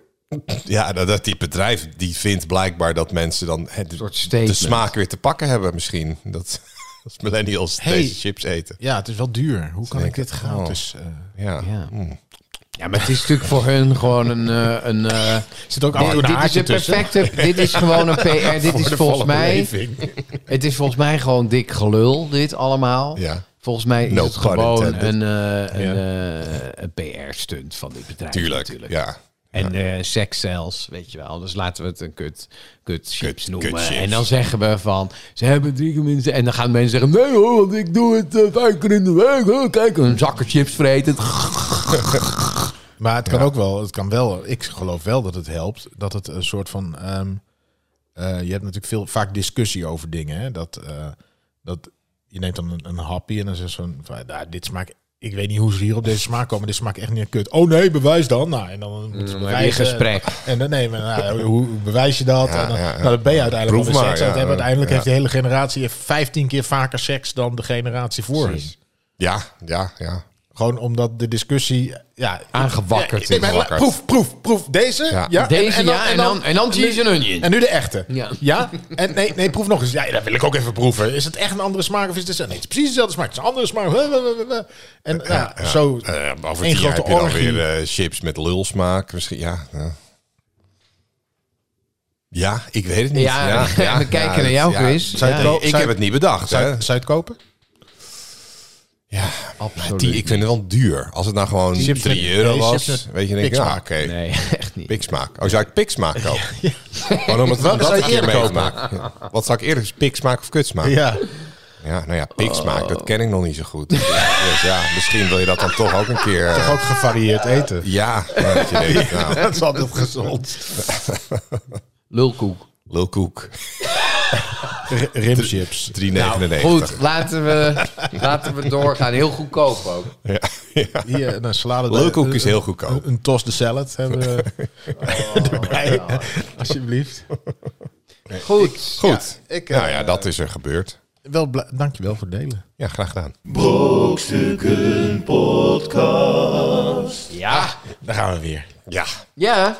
Speaker 2: Ja, dat, dat die bedrijf die vindt blijkbaar dat mensen dan hè, de,
Speaker 3: soort
Speaker 2: de
Speaker 3: statement.
Speaker 2: smaak weer te pakken hebben, misschien. Dat als millennials
Speaker 4: Hey.
Speaker 2: deze chips eten.
Speaker 4: Ja, het is wel duur. Hoe kan ik
Speaker 2: denken,
Speaker 4: dit gratis? eh,
Speaker 2: Ja.
Speaker 3: Ja.
Speaker 2: Hm.
Speaker 3: Ja, maar het is natuurlijk voor hun gewoon een... eh, een eh,
Speaker 4: zit ook
Speaker 3: dit, dit is een perfecte... Dit is gewoon een PR. Dit is volgens mij... Het is volgens mij gewoon dik gelul, dit allemaal.
Speaker 2: Ja.
Speaker 3: Volgens mij is
Speaker 2: No
Speaker 3: het
Speaker 2: pun
Speaker 3: gewoon
Speaker 2: intended.
Speaker 3: een, eh, een, eh, een PR-stunt van dit bedrijf.
Speaker 2: Tuurlijk,
Speaker 3: natuurlijk.
Speaker 2: ja.
Speaker 3: En eh seks zelfs, weet je wel. Dus laten we het een kut, kut chips
Speaker 2: Kut-
Speaker 3: noemen.
Speaker 2: kut chips.
Speaker 3: En dan zeggen we van, ze hebben drie keer mensen. En dan gaan mensen zeggen, nee hoor, want ik doe het eh, vijf keer in de week. hoor. Kijk, een zakken chips vreten.
Speaker 4: Maar het kan ook wel, het kan wel. Ik geloof wel dat het helpt. Dat het een soort van. ehm, eh, je hebt natuurlijk veel vaak discussie over dingen. Hè? Dat, eh, dat je neemt dan een, een hapje en dan zegt zo'n. van, Nou, dit smaakt. Ik weet niet hoe ze hier op deze smaak komen. Dit smaakt echt niet naar kut. Oh nee, bewijs dan. Nou, en
Speaker 2: Mm,
Speaker 4: dan moeten
Speaker 3: Dan heb
Speaker 4: ze
Speaker 3: je een
Speaker 2: eh,
Speaker 4: bewijzen.
Speaker 3: gesprek.
Speaker 4: En dan nee, maar nou, hoe hoe bewijs je dat?
Speaker 2: Ja,
Speaker 4: en dan,
Speaker 2: ja, ja.
Speaker 4: nou, dan ben je uiteindelijk
Speaker 2: Proef
Speaker 4: wel weer
Speaker 2: maar,
Speaker 4: seks aan het
Speaker 2: ja.
Speaker 4: hebben. Uiteindelijk
Speaker 2: Ja.
Speaker 4: heeft de hele generatie 15 keer vaker seks dan de generatie voor hen.
Speaker 3: Precies.
Speaker 2: Ja, ja, ja.
Speaker 4: Gewoon omdat de discussie... Ja,
Speaker 3: Aangewakkerd is.
Speaker 4: ik ben-
Speaker 2: Aangewakkerd.
Speaker 4: proef, proef, proef. Deze?
Speaker 2: Ja.
Speaker 4: Ja.
Speaker 3: Deze, ja, en dan- en dan cheese and onion.
Speaker 4: En nu de echte.
Speaker 3: Ja.
Speaker 4: En nee, nee, proef nog eens. Ja, dat wil ik ook even proeven. Is het echt een andere smaak of is het... Nee, het is precies dezelfde smaak. Het is een andere smaak. En ja, zo...
Speaker 2: Eh, over
Speaker 4: Eén
Speaker 2: tien jaar heb
Speaker 4: grote
Speaker 2: je dan
Speaker 4: orgie.
Speaker 2: weer eh, chips met lulsmaak. Misschien, ja. ja. Ja, ik weet het niet.
Speaker 3: Ja, we kijken naar jouw quiz.
Speaker 2: Zou je het
Speaker 4: Ja.
Speaker 2: wel- ik
Speaker 4: Zou-
Speaker 2: heb het niet bedacht.
Speaker 4: Zou,
Speaker 2: hè.
Speaker 4: zou je het kopen?
Speaker 2: Ja,
Speaker 3: Absoluut.
Speaker 2: die, ik vind het wel duur. Als het nou gewoon
Speaker 4: Chips
Speaker 2: 3
Speaker 4: met-
Speaker 2: euro
Speaker 4: nee,
Speaker 2: was,
Speaker 4: chips met
Speaker 2: weet je, denk ik, ja, oké.
Speaker 4: piksmaak.
Speaker 3: Nee, echt niet.
Speaker 2: Piksmaak. Oh, zou ik piksmaak kopen? Oh, Gewoon om het dat
Speaker 4: zou je
Speaker 2: een keer
Speaker 4: eerder
Speaker 2: mee te
Speaker 4: kopen?
Speaker 2: maken. Ja. Wat zou ik eerder, piksmaak of kutsmaak? Ja. nou ja, piksmaak, dat ken ik nog niet zo goed. Ja, dus ja, misschien wil je dat dan toch ook een keer... eh,
Speaker 4: Ook gevarieerd eten.
Speaker 2: ja, maar dat je denkt, nou,
Speaker 4: Dat is altijd gezond.
Speaker 3: Lulkoek.
Speaker 2: lulkoek, 3,99.
Speaker 4: R- Rimchips. Nou,
Speaker 3: Goed, laten we, laten we doorgaan. Heel goedkoop ook.
Speaker 2: Ja, ja.
Speaker 4: Hier, een salade.
Speaker 2: Lulkoek is heel goedkoop.
Speaker 4: Een, een tos de salad hebben we erbij. Alsjeblieft.
Speaker 3: Goed.
Speaker 2: Goed.
Speaker 4: Ja, ik, eh,
Speaker 2: nou ja, dat is er gebeurd.
Speaker 4: Wel bla- dankjewel voor het delen.
Speaker 2: Ja, graag gedaan.
Speaker 1: Brokstukken Podcast.
Speaker 3: Ja.
Speaker 4: Daar gaan we weer.
Speaker 2: Ja,
Speaker 3: Ja.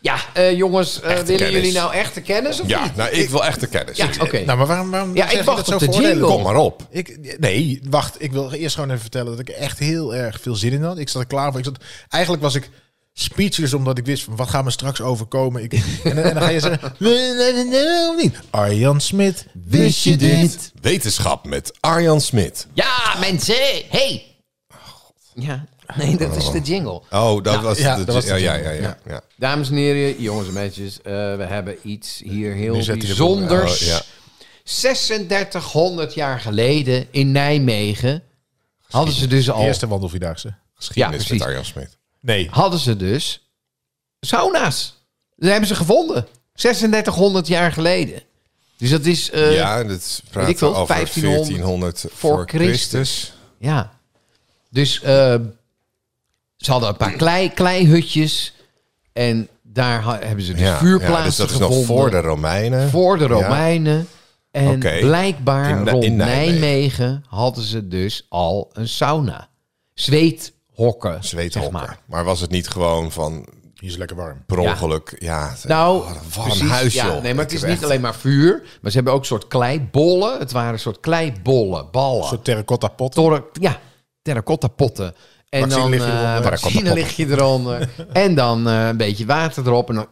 Speaker 3: Ja, eh, jongens, eh, willen
Speaker 2: kennis.
Speaker 3: jullie nou echte kennis of
Speaker 2: ja
Speaker 3: niet?
Speaker 2: nou, ik wil echt de kennis.
Speaker 3: Ja, oké.
Speaker 4: Nou, maar waarom, waarom
Speaker 3: Ja,
Speaker 4: zeg
Speaker 3: ik
Speaker 4: je
Speaker 3: wacht
Speaker 4: dat
Speaker 3: op
Speaker 4: zo
Speaker 3: de
Speaker 4: veroordelen?
Speaker 3: jingle.
Speaker 2: Kom maar op.
Speaker 4: Ik, nee, wacht. Ik wil eerst gewoon even vertellen dat ik er echt heel erg veel zin in had. Ik zat er klaar voor. Ik zat, eigenlijk was ik speechless omdat ik wist van wat gaat me straks overkomen. Ik, en, dan- en dan ga je zeggen, nee, nee, nee, nee, of niet. Arjan Smit, wist je dit?
Speaker 2: Wetenschap met Arjan Smit.
Speaker 3: Ja, mensen. Hey. Ja. Nee, dat is de jingle.
Speaker 2: Oh, dat was
Speaker 4: ja,
Speaker 2: de...
Speaker 4: dat was de
Speaker 2: ja, ja, ja,
Speaker 4: jingle.
Speaker 2: ja, ja.
Speaker 3: Dames en heren, jongens en meisjes, eh, we hebben iets hier heel
Speaker 4: zet hij de
Speaker 3: bijzonders.
Speaker 2: boel. Oh, ja.
Speaker 3: 3600 jaar geleden in Nijmegen hadden ze dus al,
Speaker 4: Oh. Eerste wandelvierdaagse.
Speaker 3: Ja,
Speaker 2: Geschiedenis
Speaker 3: precies.
Speaker 2: met Arjan Smit.
Speaker 4: Nee.
Speaker 3: hadden ze dus sauna's. Dat hebben ze gevonden. 3600 jaar geleden. Dus dat is, eh, ja.
Speaker 2: ja, dat
Speaker 3: weet ik
Speaker 2: praat
Speaker 3: veel,
Speaker 2: over
Speaker 3: 1500
Speaker 2: 1400
Speaker 3: voor
Speaker 2: voor Christus.
Speaker 3: Dus eh, ze hadden een paar klei, kleihutjes en daar ha- hebben ze dus
Speaker 2: Ja,
Speaker 3: vuurplaatsen
Speaker 2: ja, dus dat is
Speaker 3: gevonden.
Speaker 2: nog voor de Romeinen.
Speaker 3: voor de
Speaker 2: Ja.
Speaker 3: Romeinen. En
Speaker 2: Oké.
Speaker 3: blijkbaar
Speaker 2: In Ni-
Speaker 3: rond
Speaker 2: in
Speaker 3: Nijmegen.
Speaker 2: Nijmegen.
Speaker 3: hadden ze dus al een sauna. Zweethokken.
Speaker 2: Zweethokken.
Speaker 3: zeg
Speaker 2: maar.
Speaker 3: maar.
Speaker 2: was het niet gewoon van
Speaker 4: Hier is lekker warm.
Speaker 2: per
Speaker 3: Ja.
Speaker 2: ongeluk? Ja, ja
Speaker 3: Nou,
Speaker 2: oh, wat
Speaker 3: precies,
Speaker 2: een huis,
Speaker 3: ja,
Speaker 2: joh.
Speaker 3: Nee, maar
Speaker 2: Ik
Speaker 3: het is
Speaker 2: heb
Speaker 3: niet
Speaker 2: echt-
Speaker 3: alleen maar vuur. Maar ze hebben ook een soort kleibollen. Het waren een soort kleibollen, ballen.
Speaker 4: Een soort terracotta pot.
Speaker 3: Torre- ja, terracotta potten. En
Speaker 4: Vaccine
Speaker 3: dan
Speaker 4: ligt
Speaker 3: eh,
Speaker 4: hieronder.
Speaker 3: vaccine lig je eronder. en dan eh, een beetje water erop. En dan...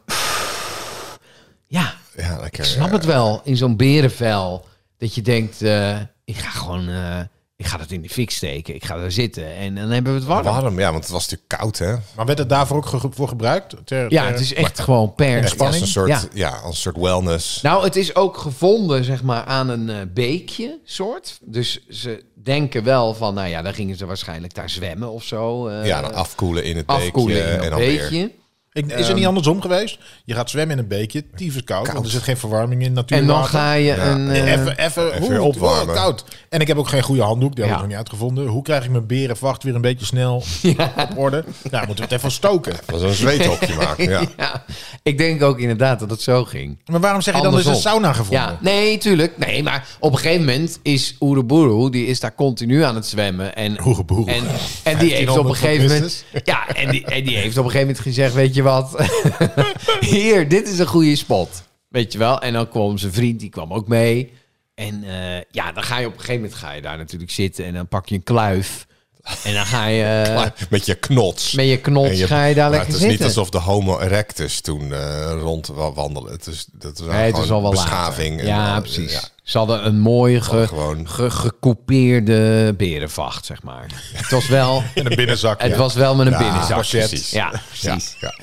Speaker 3: Ja,
Speaker 2: Ja, lekker. eh,
Speaker 3: Ik snap het wel, in zo'n berenvel. Dat je denkt, eh, ik ga gewoon... eh, ik ga dat in de fik steken. Ik ga daar zitten. En dan hebben we het warm.
Speaker 2: Warm, ja, want het was natuurlijk koud, hè?
Speaker 4: Maar werd het daarvoor ook ge- voor gebruikt? Ter-
Speaker 3: Ja,
Speaker 4: ter-
Speaker 3: het is echt gewoon per
Speaker 2: Echt als een soort, ja.
Speaker 3: Ja.
Speaker 2: als een soort wellness.
Speaker 3: Nou, het is ook gevonden, zeg maar, aan een eh, beekje, soort. Dus ze denken wel van, nou ja, dan gingen ze waarschijnlijk daar zwemmen of zo. eh,
Speaker 2: ja, dan afkoelen in het
Speaker 3: afkoelen
Speaker 2: beekje.
Speaker 3: in dat
Speaker 2: en dan weer.
Speaker 3: beekje.
Speaker 4: Ik- is
Speaker 3: ehm,
Speaker 4: het niet andersom geweest? Je gaat zwemmen in een beekje, tyfus koud, want er zit geen verwarming in
Speaker 3: En
Speaker 4: natuurlijk.
Speaker 3: dan ga je een...
Speaker 4: Nee,
Speaker 3: eh,
Speaker 4: even, even,
Speaker 2: even
Speaker 4: hoe, het-
Speaker 2: opwarmen.
Speaker 4: wow, koud. En ik heb ook geen goede handdoek, die
Speaker 3: Ja.
Speaker 4: hebben we nog niet uitgevonden. Hoe krijg ik mijn berenvacht weer een beetje snel op orde? Nou, moeten we het even stoken.
Speaker 2: Dat was een zweethokje maken, ja.
Speaker 3: ja, ik denk ook inderdaad dat het zo ging.
Speaker 4: Maar waarom zeg je dan dus een
Speaker 3: Andersom.
Speaker 4: sauna gevonden?
Speaker 3: Ja, nee, tuurlijk. Nee, maar op een gegeven moment is Oeruburu, die is daar continu aan het zwemmen. En,
Speaker 4: Oeruburu.
Speaker 3: En, en die heeft op een
Speaker 4: 1500
Speaker 3: gegeven moment...
Speaker 4: Christus.
Speaker 3: Ja, en die, en die heeft op een gegeven moment gezegd, weet je wat? Hier, dit is een goede spot. Weet je wel? En dan kwam zijn vriend, die kwam ook mee. En eh, ja, dan ga je op een gegeven moment ga je daar natuurlijk zitten. En dan pak je een kluif. En dan ga je... eh,
Speaker 2: Maar met je knots.
Speaker 3: Met je knots
Speaker 2: En
Speaker 3: ga je daar
Speaker 2: maar
Speaker 3: lekker
Speaker 2: Het is
Speaker 3: zitten.
Speaker 2: niet alsof de homo erectus toen eh, rond wa- wandelen. Het is, dat is
Speaker 3: Nee, het
Speaker 2: gewoon
Speaker 3: is al wel
Speaker 2: beschaving.
Speaker 3: later.
Speaker 2: en,
Speaker 3: Ja,
Speaker 2: eh,
Speaker 3: precies.
Speaker 2: ja.
Speaker 3: Ze hadden een mooie ge,
Speaker 2: gewoon-
Speaker 3: ge- gecoupeerde berenvacht, zeg maar. Het was wel,
Speaker 4: In een binnenzak.
Speaker 3: het
Speaker 4: ja.
Speaker 3: was wel met een
Speaker 2: Ja,
Speaker 3: binnenzak.
Speaker 2: pachet.
Speaker 3: Ja, precies.
Speaker 2: Ja.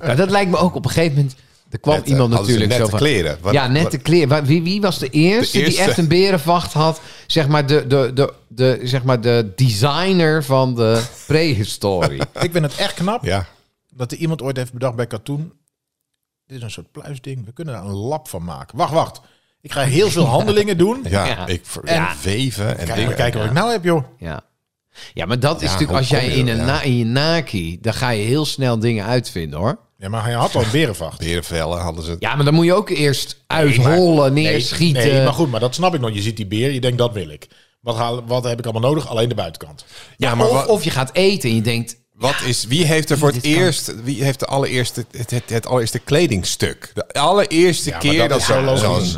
Speaker 3: Maar dat lijkt me ook op een gegeven moment... Er kwam
Speaker 2: Net, eh,
Speaker 3: iemand
Speaker 2: hadden ze
Speaker 3: natuurlijk
Speaker 2: nette
Speaker 3: zo van...
Speaker 2: kleren. Wat-
Speaker 3: ja, nette
Speaker 2: wat-
Speaker 3: kleren. Wa- Wie, wie was de eerste,
Speaker 2: De
Speaker 3: die
Speaker 2: eerste.
Speaker 3: echt een berenvacht had? Zeg maar de, de, de, de, zeg maar de designer van de prehistorie.
Speaker 4: Ik vind het echt knap
Speaker 2: Ja.
Speaker 4: dat er iemand ooit heeft bedacht bij Katoen. Dit is een soort pluisding. We kunnen daar een lab van maken. Wacht, wacht. Ik ga heel veel handelingen doen.
Speaker 2: Ja,
Speaker 3: Ja.
Speaker 2: ik ver-
Speaker 4: En-
Speaker 2: ja, weven en
Speaker 4: Kijk,
Speaker 2: dingen.
Speaker 4: kijken wat ik nou heb, joh.
Speaker 3: Ja. Ja, maar dat is
Speaker 2: Ja,
Speaker 3: natuurlijk
Speaker 2: hoe
Speaker 3: als
Speaker 2: kom
Speaker 3: jij
Speaker 2: je
Speaker 3: in,
Speaker 2: er-
Speaker 3: een
Speaker 2: ja.
Speaker 3: na, in je naki, dan ga je heel snel dingen uitvinden hoor.
Speaker 4: Ja, maar hij had al een berenvacht.
Speaker 2: Berenvellen hadden ze.
Speaker 3: Ja, maar dan moet je ook eerst uithollen, neerschieten.
Speaker 4: Nee, maar goed, maar dat snap ik nog. Je ziet die beer, je denkt dat wil ik. Wat, haal, wat heb ik allemaal nodig? Alleen de buitenkant.
Speaker 2: Ja, maar
Speaker 3: of,
Speaker 2: wat,
Speaker 3: of je gaat eten en je denkt...
Speaker 2: wat is, wie heeft er voor het
Speaker 3: Dit kan.
Speaker 2: eerst, wie heeft de allereerste, het, het, het allereerste kledingstuk? De allereerste
Speaker 4: maar
Speaker 2: keer
Speaker 4: dat
Speaker 2: dat,
Speaker 4: is
Speaker 2: zo
Speaker 4: zo logisch.
Speaker 2: logisch.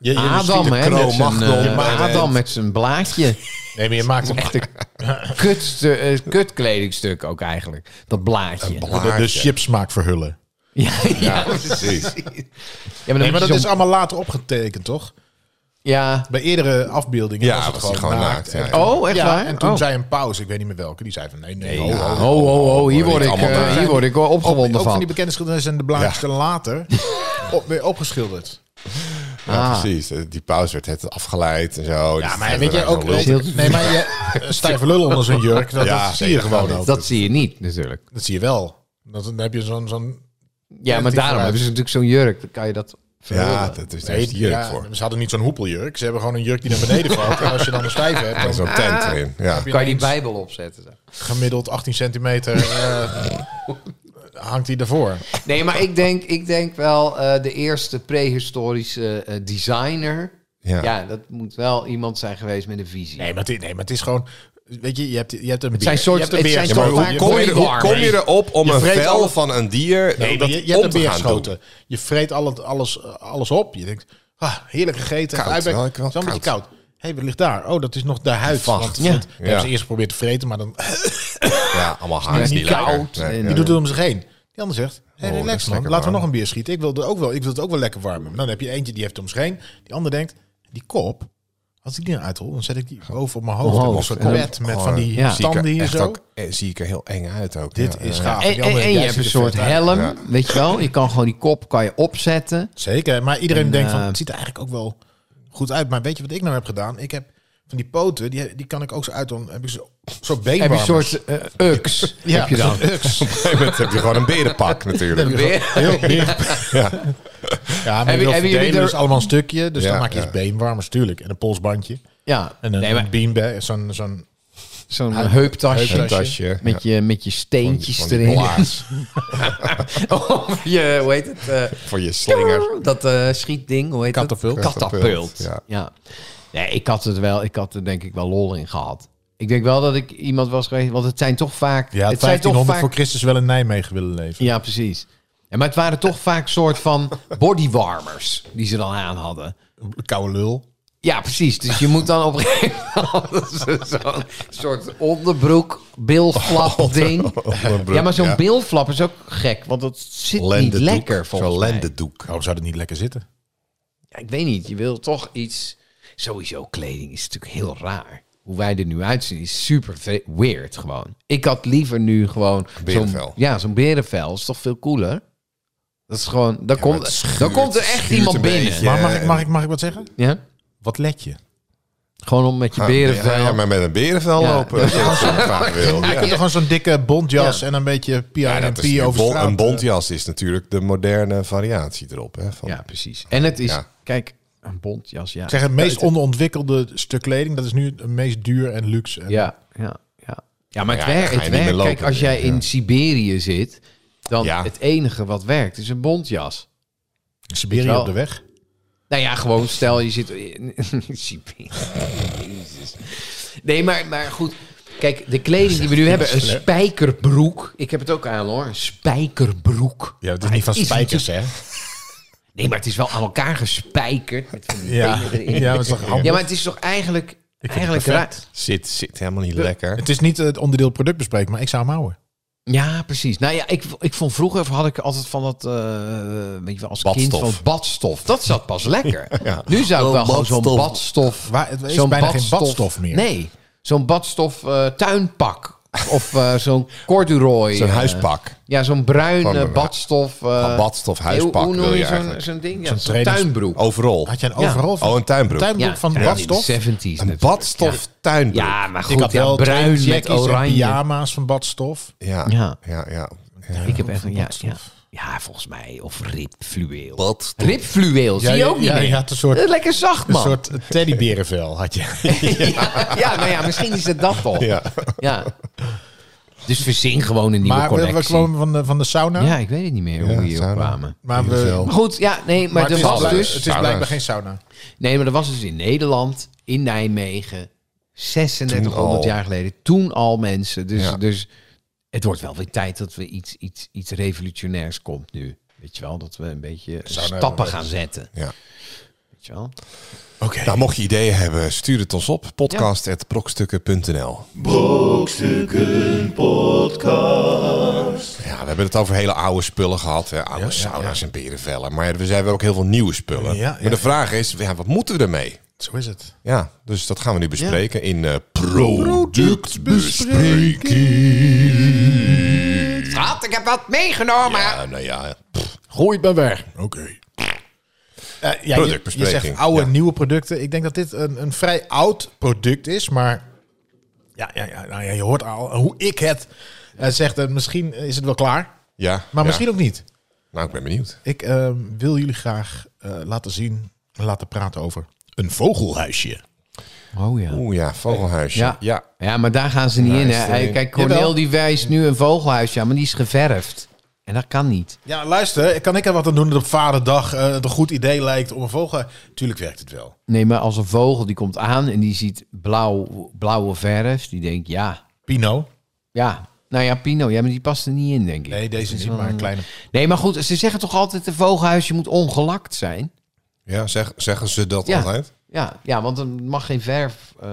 Speaker 4: Je, je
Speaker 3: "Ah, Adam,
Speaker 4: schiet een
Speaker 3: hè, met
Speaker 4: kroon.
Speaker 3: zijn,
Speaker 2: Cro-Magnon.
Speaker 3: eh,
Speaker 2: Je maakt het.
Speaker 3: Adam met zijn blaadje.
Speaker 4: Nee, maar je maakt hem echt
Speaker 3: Kutste, eh, kutkledingstuk ook eigenlijk. Dat blaadje.
Speaker 4: de, de chipsmaak verhullen.
Speaker 3: ja, ja,
Speaker 2: Ja,
Speaker 3: ja,
Speaker 2: precies.
Speaker 3: maar dan
Speaker 4: Nee, maar
Speaker 3: moet je
Speaker 4: dat is
Speaker 3: zo'n-
Speaker 4: allemaal later opgetekend, toch?
Speaker 3: Ja.
Speaker 4: Bij eerdere afbeeldingen
Speaker 2: Ja,
Speaker 4: was het
Speaker 2: was
Speaker 4: gewoon,
Speaker 2: hij gewoon
Speaker 4: naakt.
Speaker 2: naakt,
Speaker 4: En-
Speaker 2: ja.
Speaker 3: Oh, echt
Speaker 4: ja,
Speaker 3: waar?
Speaker 4: En toen
Speaker 3: Oh.
Speaker 4: zei een pauze, ik weet niet meer welke, die zei van nee, nee, ho, ho,
Speaker 3: Oh, oh, oh, hier word ik,
Speaker 2: allemaal
Speaker 3: eh,
Speaker 2: naakt.
Speaker 3: hier word ik wel opgewonden
Speaker 4: ook van
Speaker 3: van.
Speaker 4: die bekende schilderijen zijn de belangrijkste later op, weer opgeschilderd.
Speaker 2: Ja,
Speaker 3: Ah.
Speaker 2: precies. Eh, Die pauze werd het afgeleid en zo.
Speaker 4: Ja,
Speaker 2: Dus
Speaker 4: maar
Speaker 2: het
Speaker 4: weet je
Speaker 2: werd
Speaker 4: ook...
Speaker 2: wel lul.
Speaker 3: heel lul.
Speaker 4: nee, maar je, een stijve lul onder zo'n jurk, dat,
Speaker 2: Ja,
Speaker 4: dat zie
Speaker 2: nee,
Speaker 4: je
Speaker 2: dat
Speaker 4: gewoon
Speaker 2: gaat
Speaker 4: ook.
Speaker 3: Dat zie je niet, natuurlijk.
Speaker 4: Dat zie je wel. Dat, dan heb je zo'n... zo'n
Speaker 3: Ja, maar
Speaker 4: die
Speaker 3: daarom
Speaker 4: vooruit.
Speaker 3: hebben ze natuurlijk zo'n jurk. Dan kan je dat...
Speaker 2: Ja, dat is daar
Speaker 4: nee,
Speaker 2: is die jurk
Speaker 4: ja,
Speaker 2: voor.
Speaker 4: Ze hadden niet zo'n hoepeljurk. Ze hebben gewoon een jurk die naar beneden valt. en als je dan een stijve hebt, dan
Speaker 2: En zo'n tent erin. Ja.
Speaker 4: heb
Speaker 3: Kan je die
Speaker 4: ineens
Speaker 3: bijbel opzetten? zo.
Speaker 4: gemiddeld 18 centimeter... eh, hangt hij daarvoor.
Speaker 3: Nee, maar ik denk, ik denk wel eh, de eerste prehistorische eh, designer.
Speaker 2: Ja.
Speaker 3: Ja. dat moet wel iemand zijn geweest met een visie.
Speaker 4: Nee, maar het, nee, maar het is gewoon... Weet je, je hebt, je hebt een beer.
Speaker 3: zijn soort-
Speaker 4: je hebt een
Speaker 3: het
Speaker 4: beer-
Speaker 3: zijn
Speaker 4: Ja, maar
Speaker 3: soort
Speaker 4: hoe-
Speaker 3: vaak
Speaker 4: je-
Speaker 2: Kom je, er- hoe kom je erop om
Speaker 4: Je
Speaker 2: een
Speaker 4: vreet
Speaker 2: vel
Speaker 4: alle-
Speaker 2: van een dier
Speaker 4: Nee,
Speaker 2: eh,
Speaker 4: maar
Speaker 2: dat
Speaker 4: je, je hebt
Speaker 2: om
Speaker 4: een
Speaker 2: te
Speaker 4: beer
Speaker 2: gaan
Speaker 4: geschoten.
Speaker 2: doen?
Speaker 4: Je vreet al het, alles, alles op. Je denkt, ah, heerlijk gegeten.
Speaker 2: Koud,
Speaker 4: Koud,
Speaker 2: wel,
Speaker 4: wel,
Speaker 2: ik wel
Speaker 4: een beetje
Speaker 2: koud.
Speaker 4: koud. Hé, hey, wat ligt daar? Oh, dat is nog de huid.
Speaker 2: Vast.
Speaker 4: Want
Speaker 3: Ja.
Speaker 4: dat- dat hebben ze
Speaker 2: Ja.
Speaker 4: eerst geprobeerd te vreten, maar dan...
Speaker 2: Ja, allemaal haar is
Speaker 3: niet
Speaker 2: niet lekker.
Speaker 3: koud.
Speaker 2: Nee,
Speaker 3: En
Speaker 2: ja.
Speaker 4: Die doet het om zich heen. Die ander zegt, hey,
Speaker 2: Oh, dat is
Speaker 4: relax man,
Speaker 2: lekker
Speaker 4: laten we
Speaker 2: warm.
Speaker 4: nog een bier schieten. Ik wil, er ook wel, ik wil het ook wel lekker warmen. Maar Dan heb je eentje die heeft het om zich heen. Die ander denkt, die kop... Als ik die eruit hol, dan zet ik die boven op mijn hoofd.
Speaker 3: Omhoog.
Speaker 4: Een soort
Speaker 3: En dan-
Speaker 4: bed met van
Speaker 3: Ja.
Speaker 4: die
Speaker 2: Zie ik er
Speaker 4: standen hier
Speaker 2: echt
Speaker 4: zo.
Speaker 2: ook- eh, zie ik er heel eng uit ook.
Speaker 4: Dit
Speaker 2: ja.
Speaker 4: is
Speaker 2: Ja.
Speaker 4: gaaf.
Speaker 3: En,
Speaker 4: Die
Speaker 3: en,
Speaker 4: andere-
Speaker 3: en je
Speaker 4: jij
Speaker 3: hebt
Speaker 4: ziet
Speaker 3: een
Speaker 4: er
Speaker 3: soort
Speaker 4: vet uit.
Speaker 3: helm,
Speaker 2: Ja.
Speaker 3: weet je wel. Je kan gewoon die kop kan je opzetten.
Speaker 4: Zeker, maar iedereen
Speaker 3: En,
Speaker 4: denkt van,
Speaker 3: eh,
Speaker 4: het ziet er eigenlijk ook wel goed uit. Maar weet je wat ik nou heb gedaan? Ik heb van die poten, die, die kan ik ook zo uit doen. Heb ik zo, zo
Speaker 3: heb je
Speaker 4: beenwarmers.
Speaker 3: een soort eh ux.
Speaker 4: Ja,
Speaker 3: heb je dan.
Speaker 4: zo'n ux.
Speaker 2: Op een gegeven moment heb je gewoon een berenpak natuurlijk.
Speaker 4: Heb je gewoon- heel beer. Ja, maar
Speaker 3: Hebben-
Speaker 4: je wil
Speaker 3: hebben jullie
Speaker 4: verdelen,
Speaker 3: er-
Speaker 4: dus allemaal een stukje. Dus
Speaker 2: Ja,
Speaker 4: dan maak je
Speaker 2: ja.
Speaker 4: eens beenwarmers, tuurlijk. En een polsbandje.
Speaker 3: Ja,
Speaker 4: En een
Speaker 3: nee, maar
Speaker 4: beanbag, zo'n... zo'n
Speaker 3: zo'n heuptasje.
Speaker 2: Een tasje.
Speaker 3: Met, je, met je steentjes
Speaker 2: Van die
Speaker 3: erin.
Speaker 2: blaas.
Speaker 3: of je, hoe heet het? eh,
Speaker 2: Voor je slinger.
Speaker 3: Dat eh, schietding, hoe heet
Speaker 4: Katapult.
Speaker 3: het? Katapult.
Speaker 2: Ja.
Speaker 3: Ja. Nee, ik had het wel, ik had er denk ik wel lol in gehad. Ik denk wel dat ik iemand was geweest, want het zijn toch vaak...
Speaker 4: ja,
Speaker 3: het zijn
Speaker 4: 1500
Speaker 3: toch vaak,
Speaker 4: voor Christus wel in Nijmegen willen leven.
Speaker 3: Ja, precies. Ja, maar het waren toch vaak soort van bodywarmers die ze dan aan hadden.
Speaker 4: Koude lul.
Speaker 3: Ja, precies. Dus je moet dan op een gegeven moment zo'n soort onderbroek, bilflap ding. Ja, maar zo'n
Speaker 2: ja.
Speaker 3: bilflap is ook gek, want dat zit niet
Speaker 2: Lendendoek. Zo'n
Speaker 3: lekker volgens mij.
Speaker 2: lendendoek.
Speaker 4: Waarom zou dat niet lekker zitten?
Speaker 3: Ja, ik weet niet, je wil toch iets... Sowieso, kleding is natuurlijk heel raar. Hoe wij er nu uitzien is super ve- weird gewoon. Ik had liever nu gewoon...
Speaker 2: Berenvel.
Speaker 3: Zo'n, ja, zo'n berenvel is toch veel cooler? Dat is gewoon... Dan,
Speaker 2: maar
Speaker 3: komt,
Speaker 2: het schuurt,
Speaker 3: dan komt er
Speaker 2: het
Speaker 3: echt
Speaker 2: schuurt
Speaker 3: iemand
Speaker 2: een
Speaker 3: binnen.
Speaker 2: beetje.
Speaker 4: Maar
Speaker 2: Ja,
Speaker 4: mag ik,
Speaker 2: en-
Speaker 4: mag, ik, mag ik wat zeggen?
Speaker 3: Ja?
Speaker 4: Wat let je?
Speaker 3: Gewoon om met je
Speaker 2: Ah,
Speaker 3: berenvel...
Speaker 2: Ja, ja, maar met een berenvel
Speaker 3: Ja.
Speaker 2: lopen. Dat is wat ik graag wil.
Speaker 4: Je
Speaker 2: Ja.
Speaker 4: kunt toch gewoon zo'n dikke bondjas
Speaker 3: Ja.
Speaker 4: en een beetje PRP
Speaker 2: Ja, dat is een,
Speaker 4: over
Speaker 2: bon-
Speaker 4: straat,
Speaker 2: een
Speaker 4: eh.
Speaker 2: bontjas is natuurlijk de moderne variatie erop. Hè, van,
Speaker 3: Ja, precies. En het is...
Speaker 2: Ja.
Speaker 3: Kijk, een bontjas, ja.
Speaker 4: Ik zeg, het meest onderontwikkelde stuk kleding, dat is nu het meest duur en luxe. En
Speaker 3: Ja, ja, ja. Ja, maar het
Speaker 2: Ja, dan
Speaker 3: werkt.
Speaker 2: ga je niet
Speaker 3: Het
Speaker 2: meer
Speaker 3: werkt. Kijk,
Speaker 2: lopen,
Speaker 3: als jij in
Speaker 2: ja.
Speaker 3: Siberië zit, dan
Speaker 2: Ja.
Speaker 3: het enige wat werkt is een bontjas.
Speaker 4: Siberië
Speaker 3: Wel-
Speaker 4: op de weg.
Speaker 3: Nou ja, gewoon stel je zit in Siberië. Jezus. Nee, maar, maar goed. Kijk, de kleding die we nu hebben, een spijkerbroek. Ik heb het ook aan hoor, een spijkerbroek.
Speaker 4: Ja, het is niet van spijkers, hè?
Speaker 3: Nee, maar het is wel aan elkaar gespijkerd. Met van die
Speaker 4: Ja,
Speaker 3: benen erin.
Speaker 4: ja, maar het is toch handig?
Speaker 3: ja, maar het is toch eigenlijk, eigenlijk raar.
Speaker 2: Zit, zit helemaal niet lekker.
Speaker 4: Het is niet het onderdeel product bespreken, maar ik zou hem houden.
Speaker 3: Ja, precies. Nou ja, ik, ik vond vroeger had ik altijd van dat, eh, weet je wel, als
Speaker 2: Badstof.
Speaker 3: kind van badstof. Dat zat pas lekker.
Speaker 2: Ja.
Speaker 3: Nu zou ik wel gewoon zo'n
Speaker 2: badstof.
Speaker 3: badstof.
Speaker 4: Waar- het is
Speaker 3: zo'n
Speaker 4: bijna geen badstof meer.
Speaker 3: Nee, zo'n badstof eh, tuinpak of eh, zo'n corduroy.
Speaker 2: Zo'n
Speaker 3: eh,
Speaker 2: huispak.
Speaker 3: ja, zo'n bruin
Speaker 2: Gewoon
Speaker 3: eh,
Speaker 2: een-
Speaker 3: badstof. eh,
Speaker 2: Een badstof
Speaker 3: hoe-
Speaker 2: huispak
Speaker 3: Hoe
Speaker 2: wil
Speaker 3: noem
Speaker 2: je
Speaker 3: je zo'n
Speaker 2: eigenlijk.
Speaker 3: zo'n ding? Ja,
Speaker 4: Zo'n
Speaker 3: zo'n
Speaker 4: trainings-
Speaker 3: tuinbroek.
Speaker 2: Overal.
Speaker 4: Had je een
Speaker 3: Ja.
Speaker 4: overal van?
Speaker 2: Oh, een tuinbroek.
Speaker 4: tuinbroek
Speaker 3: Ja,
Speaker 4: van
Speaker 3: ja,
Speaker 4: badstof?
Speaker 3: In de 70s
Speaker 2: Een
Speaker 3: natuurlijk,
Speaker 2: badstof
Speaker 3: ja.
Speaker 2: tuinbroek.
Speaker 3: Ja, maar
Speaker 4: ik
Speaker 3: goed,
Speaker 4: had
Speaker 3: ja,
Speaker 4: wel
Speaker 3: bruin met
Speaker 4: jackies en
Speaker 3: oranje.
Speaker 4: pyjama's van badstof.
Speaker 2: Ja, ja,
Speaker 3: Ja.
Speaker 2: ja. ja.
Speaker 3: Ik heb echt een ja, ja, ja, volgens mij. Of ribfluweel. Ribfluweel, zie je
Speaker 4: ja,
Speaker 3: ook niet
Speaker 4: ja,
Speaker 3: meer.
Speaker 4: je had een soort-
Speaker 3: Dat is Lekker zacht,
Speaker 4: Een
Speaker 3: man.
Speaker 4: soort teddyberenvel had je.
Speaker 3: ja. ja, nou ja, misschien is het dat al. Ja.
Speaker 2: Ja.
Speaker 3: Dus verzin gewoon een nieuwe
Speaker 4: maar we,
Speaker 3: collectie.
Speaker 4: we kwamen van de, van de sauna.
Speaker 3: Ja, ik weet het niet meer hoe we hierop
Speaker 2: sauna.
Speaker 3: kwamen.
Speaker 4: Maar we-
Speaker 2: Wel.
Speaker 3: Maar goed, ja, nee, maar,
Speaker 4: Maar
Speaker 3: er
Speaker 4: het, is
Speaker 3: was
Speaker 4: blij-
Speaker 3: dus...
Speaker 4: het is
Speaker 2: Sauna's.
Speaker 4: blijkbaar geen sauna.
Speaker 3: Nee, maar er was dus in Nederland, in Nijmegen,
Speaker 2: Toen
Speaker 3: 3600
Speaker 2: al.
Speaker 3: jaar geleden. Toen al mensen. Dus,
Speaker 2: Ja.
Speaker 3: dus het wordt wel weer tijd dat we iets, iets, iets revolutionairs komt nu. Weet je wel, dat we een beetje
Speaker 4: Zouden
Speaker 3: stappen
Speaker 4: we-
Speaker 3: gaan zetten.
Speaker 2: Ja.
Speaker 3: Weet je wel?
Speaker 4: Oké.
Speaker 2: Nou, mocht je ideeën hebben, stuur het ons op. podcast.brokstukken.nl
Speaker 1: Brokstukken Podcast.
Speaker 2: Ja, we hebben het over hele oude spullen gehad. Hè? Oude sauna's en berenvellen. Maar we hebben ook heel veel nieuwe spullen.
Speaker 4: Ja, ja,
Speaker 2: maar de vraag is, ja, wat moeten we ermee?
Speaker 4: Zo is het.
Speaker 2: Ja, dus dat gaan we nu bespreken in eh productbespreking.
Speaker 3: Schat, ik heb wat meegenomen.
Speaker 2: Ja, nou ja.
Speaker 4: Gooi het maar weg. Oké. Eh, ja, je, je
Speaker 2: Productbespreking,
Speaker 4: zegt oude,
Speaker 2: ja.
Speaker 4: nieuwe producten. Ik denk dat dit een, een vrij oud product is, maar ja, ja, ja, nou ja, je hoort al hoe ik het eh, zeg. dat misschien is het wel klaar,
Speaker 2: ja
Speaker 4: maar misschien
Speaker 2: ja.
Speaker 4: ook niet.
Speaker 2: Nou, ik ben benieuwd.
Speaker 4: Ik eh, wil jullie graag eh, laten zien, laten praten over een vogelhuisje.
Speaker 3: Oh ja.
Speaker 2: Oeh ja, vogelhuisje.
Speaker 3: Ja.
Speaker 2: Ja.
Speaker 3: ja. maar daar gaan ze niet
Speaker 2: Daar
Speaker 3: in.
Speaker 2: is
Speaker 3: Hè.
Speaker 2: het niet.
Speaker 3: Kijk, Cornel
Speaker 4: Jawel.
Speaker 3: die wijst nu een vogelhuisje aan, maar die is geverfd. En dat kan niet.
Speaker 4: Ja, luister, kan ik er wat aan doen dat op vaderdag eh, het een goed idee lijkt om een vogel... Tuurlijk werkt het wel.
Speaker 3: Nee, maar als een vogel die komt aan en die ziet blauw, blauwe verf, die denkt ja,
Speaker 4: Pino?
Speaker 3: ja. Nou ja, Pino, ja, maar die past er niet in, denk ik.
Speaker 4: Nee, deze is maar een kleine...
Speaker 3: Nee, maar goed, ze zeggen toch altijd: een vogelhuisje moet ongelakt zijn.
Speaker 2: Ja, zeg, zeggen ze dat
Speaker 3: Ja.
Speaker 2: altijd?
Speaker 3: Ja, ja, want er mag geen verf eh,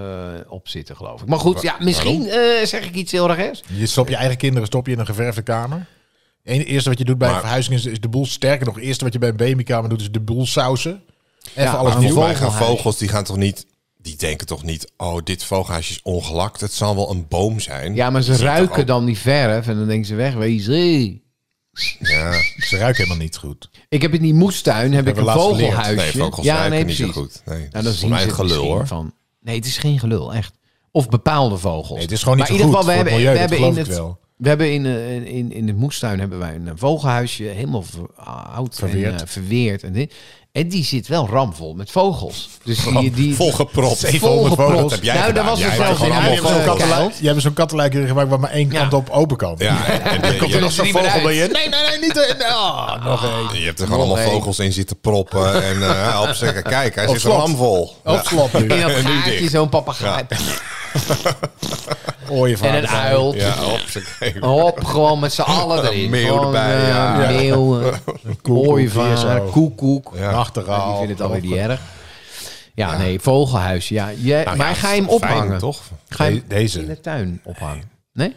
Speaker 3: op zitten, geloof ik. Maar goed, ja, misschien eh, zeg ik iets heel erg ergs.
Speaker 4: Je stop je eigen kinderen stop je in een geverfde kamer. En het eerste wat je doet bij
Speaker 2: Maar-
Speaker 4: een verhuizing is, is de boel sterker. Nog het eerste wat je bij een babykamer doet is de boel sausen. Even
Speaker 3: Ja,
Speaker 4: alles
Speaker 3: maar
Speaker 4: nieuw.
Speaker 3: hoe-
Speaker 2: Wij gaan
Speaker 3: vogelhuis.
Speaker 2: vogels, die gaan toch niet... Die denken toch niet, oh, dit vogelhuisje is ongelakt. Het zal wel een boom zijn.
Speaker 3: Ja, maar ze
Speaker 2: Ziet toch
Speaker 3: ruiken
Speaker 2: ook-
Speaker 3: dan die verf en dan denken ze wegwezen.
Speaker 2: Ja.
Speaker 4: Ze ruiken helemaal niet goed.
Speaker 3: Ik heb in die moestuin heb ik
Speaker 4: hebben
Speaker 3: een
Speaker 4: we laatst geleerd.
Speaker 3: vogelhuisje.
Speaker 2: Nee, vogels
Speaker 3: ja,
Speaker 2: ruiken
Speaker 3: nee,
Speaker 2: niet
Speaker 3: precies.
Speaker 2: zo goed. Nee, dat
Speaker 3: Nou,
Speaker 2: is
Speaker 3: dan
Speaker 2: voor
Speaker 3: zien
Speaker 2: mij
Speaker 3: ze
Speaker 2: het
Speaker 3: het
Speaker 2: gelul,
Speaker 3: misschien
Speaker 2: hoor.
Speaker 3: van. Nee, het is geen gelul, echt. Of bepaalde vogels.
Speaker 4: Nee, het is gewoon niet
Speaker 3: maar
Speaker 4: zo
Speaker 3: in
Speaker 4: goed
Speaker 3: ieder geval, we
Speaker 4: voor het
Speaker 3: hebben,
Speaker 4: milieu,
Speaker 3: we
Speaker 4: dat
Speaker 3: hebben in
Speaker 4: geloof
Speaker 3: het,
Speaker 4: ik wel.
Speaker 3: We hebben in, eh, in, in, in de moestuin hebben wij een vervolghuisje helemaal ver- oud en
Speaker 4: Verweerd.
Speaker 3: eh, verweerd. En, dit. en die zit wel ramvol met vogels. Dus die, die,
Speaker 2: Volgepropt.
Speaker 3: Volgepropt.
Speaker 2: vogels. heb jij
Speaker 3: Nou, daar
Speaker 2: gedaan.
Speaker 3: was er
Speaker 2: Jij
Speaker 3: zelfs
Speaker 2: hebt
Speaker 3: in
Speaker 2: gewoon
Speaker 4: Ja,
Speaker 2: allemaal
Speaker 4: je, hebt zo'n
Speaker 2: vogels.
Speaker 4: kattenlui- je hebt zo'n kattenluikje gemaakt waar maar één
Speaker 3: Ja.
Speaker 4: kant op open kan.
Speaker 2: Ja, en, en- en-
Speaker 4: Komt er nog
Speaker 2: je,
Speaker 4: zo'n
Speaker 3: meer
Speaker 4: vogel
Speaker 3: uit.
Speaker 4: bij je? Nee, nee, nee, niet. eh, ah, nog één.
Speaker 2: je hebt er gewoon allemaal
Speaker 3: Nee.
Speaker 2: vogels in zitten proppen. En eh op zeggen, kijk, hij
Speaker 4: Op
Speaker 2: zit
Speaker 4: slot.
Speaker 2: ramvol.
Speaker 4: Op slot
Speaker 3: in
Speaker 4: nu.
Speaker 3: dat
Speaker 2: nu
Speaker 3: gaatje
Speaker 2: dicht.
Speaker 3: zo'n papegaai.
Speaker 4: Ooie
Speaker 3: En een
Speaker 4: vader.
Speaker 3: uil.
Speaker 2: Ja, op zijn
Speaker 3: Hop, gewoon met z'n allen erin.
Speaker 2: Meeuw
Speaker 3: Gewoon,
Speaker 2: erbij,
Speaker 3: eh,
Speaker 2: ja.
Speaker 3: Meeuwen, ooievaar,
Speaker 4: zo.
Speaker 3: koekoek.
Speaker 4: Nachtegaal.
Speaker 3: Ja, die vindt het alweer niet erg. Ja, nee, vogelhuisje. Ja, je, maar ga je hem ophangen?
Speaker 2: toch?
Speaker 3: Ga je hem
Speaker 4: De- deze.
Speaker 3: in de tuin ophangen? Nee?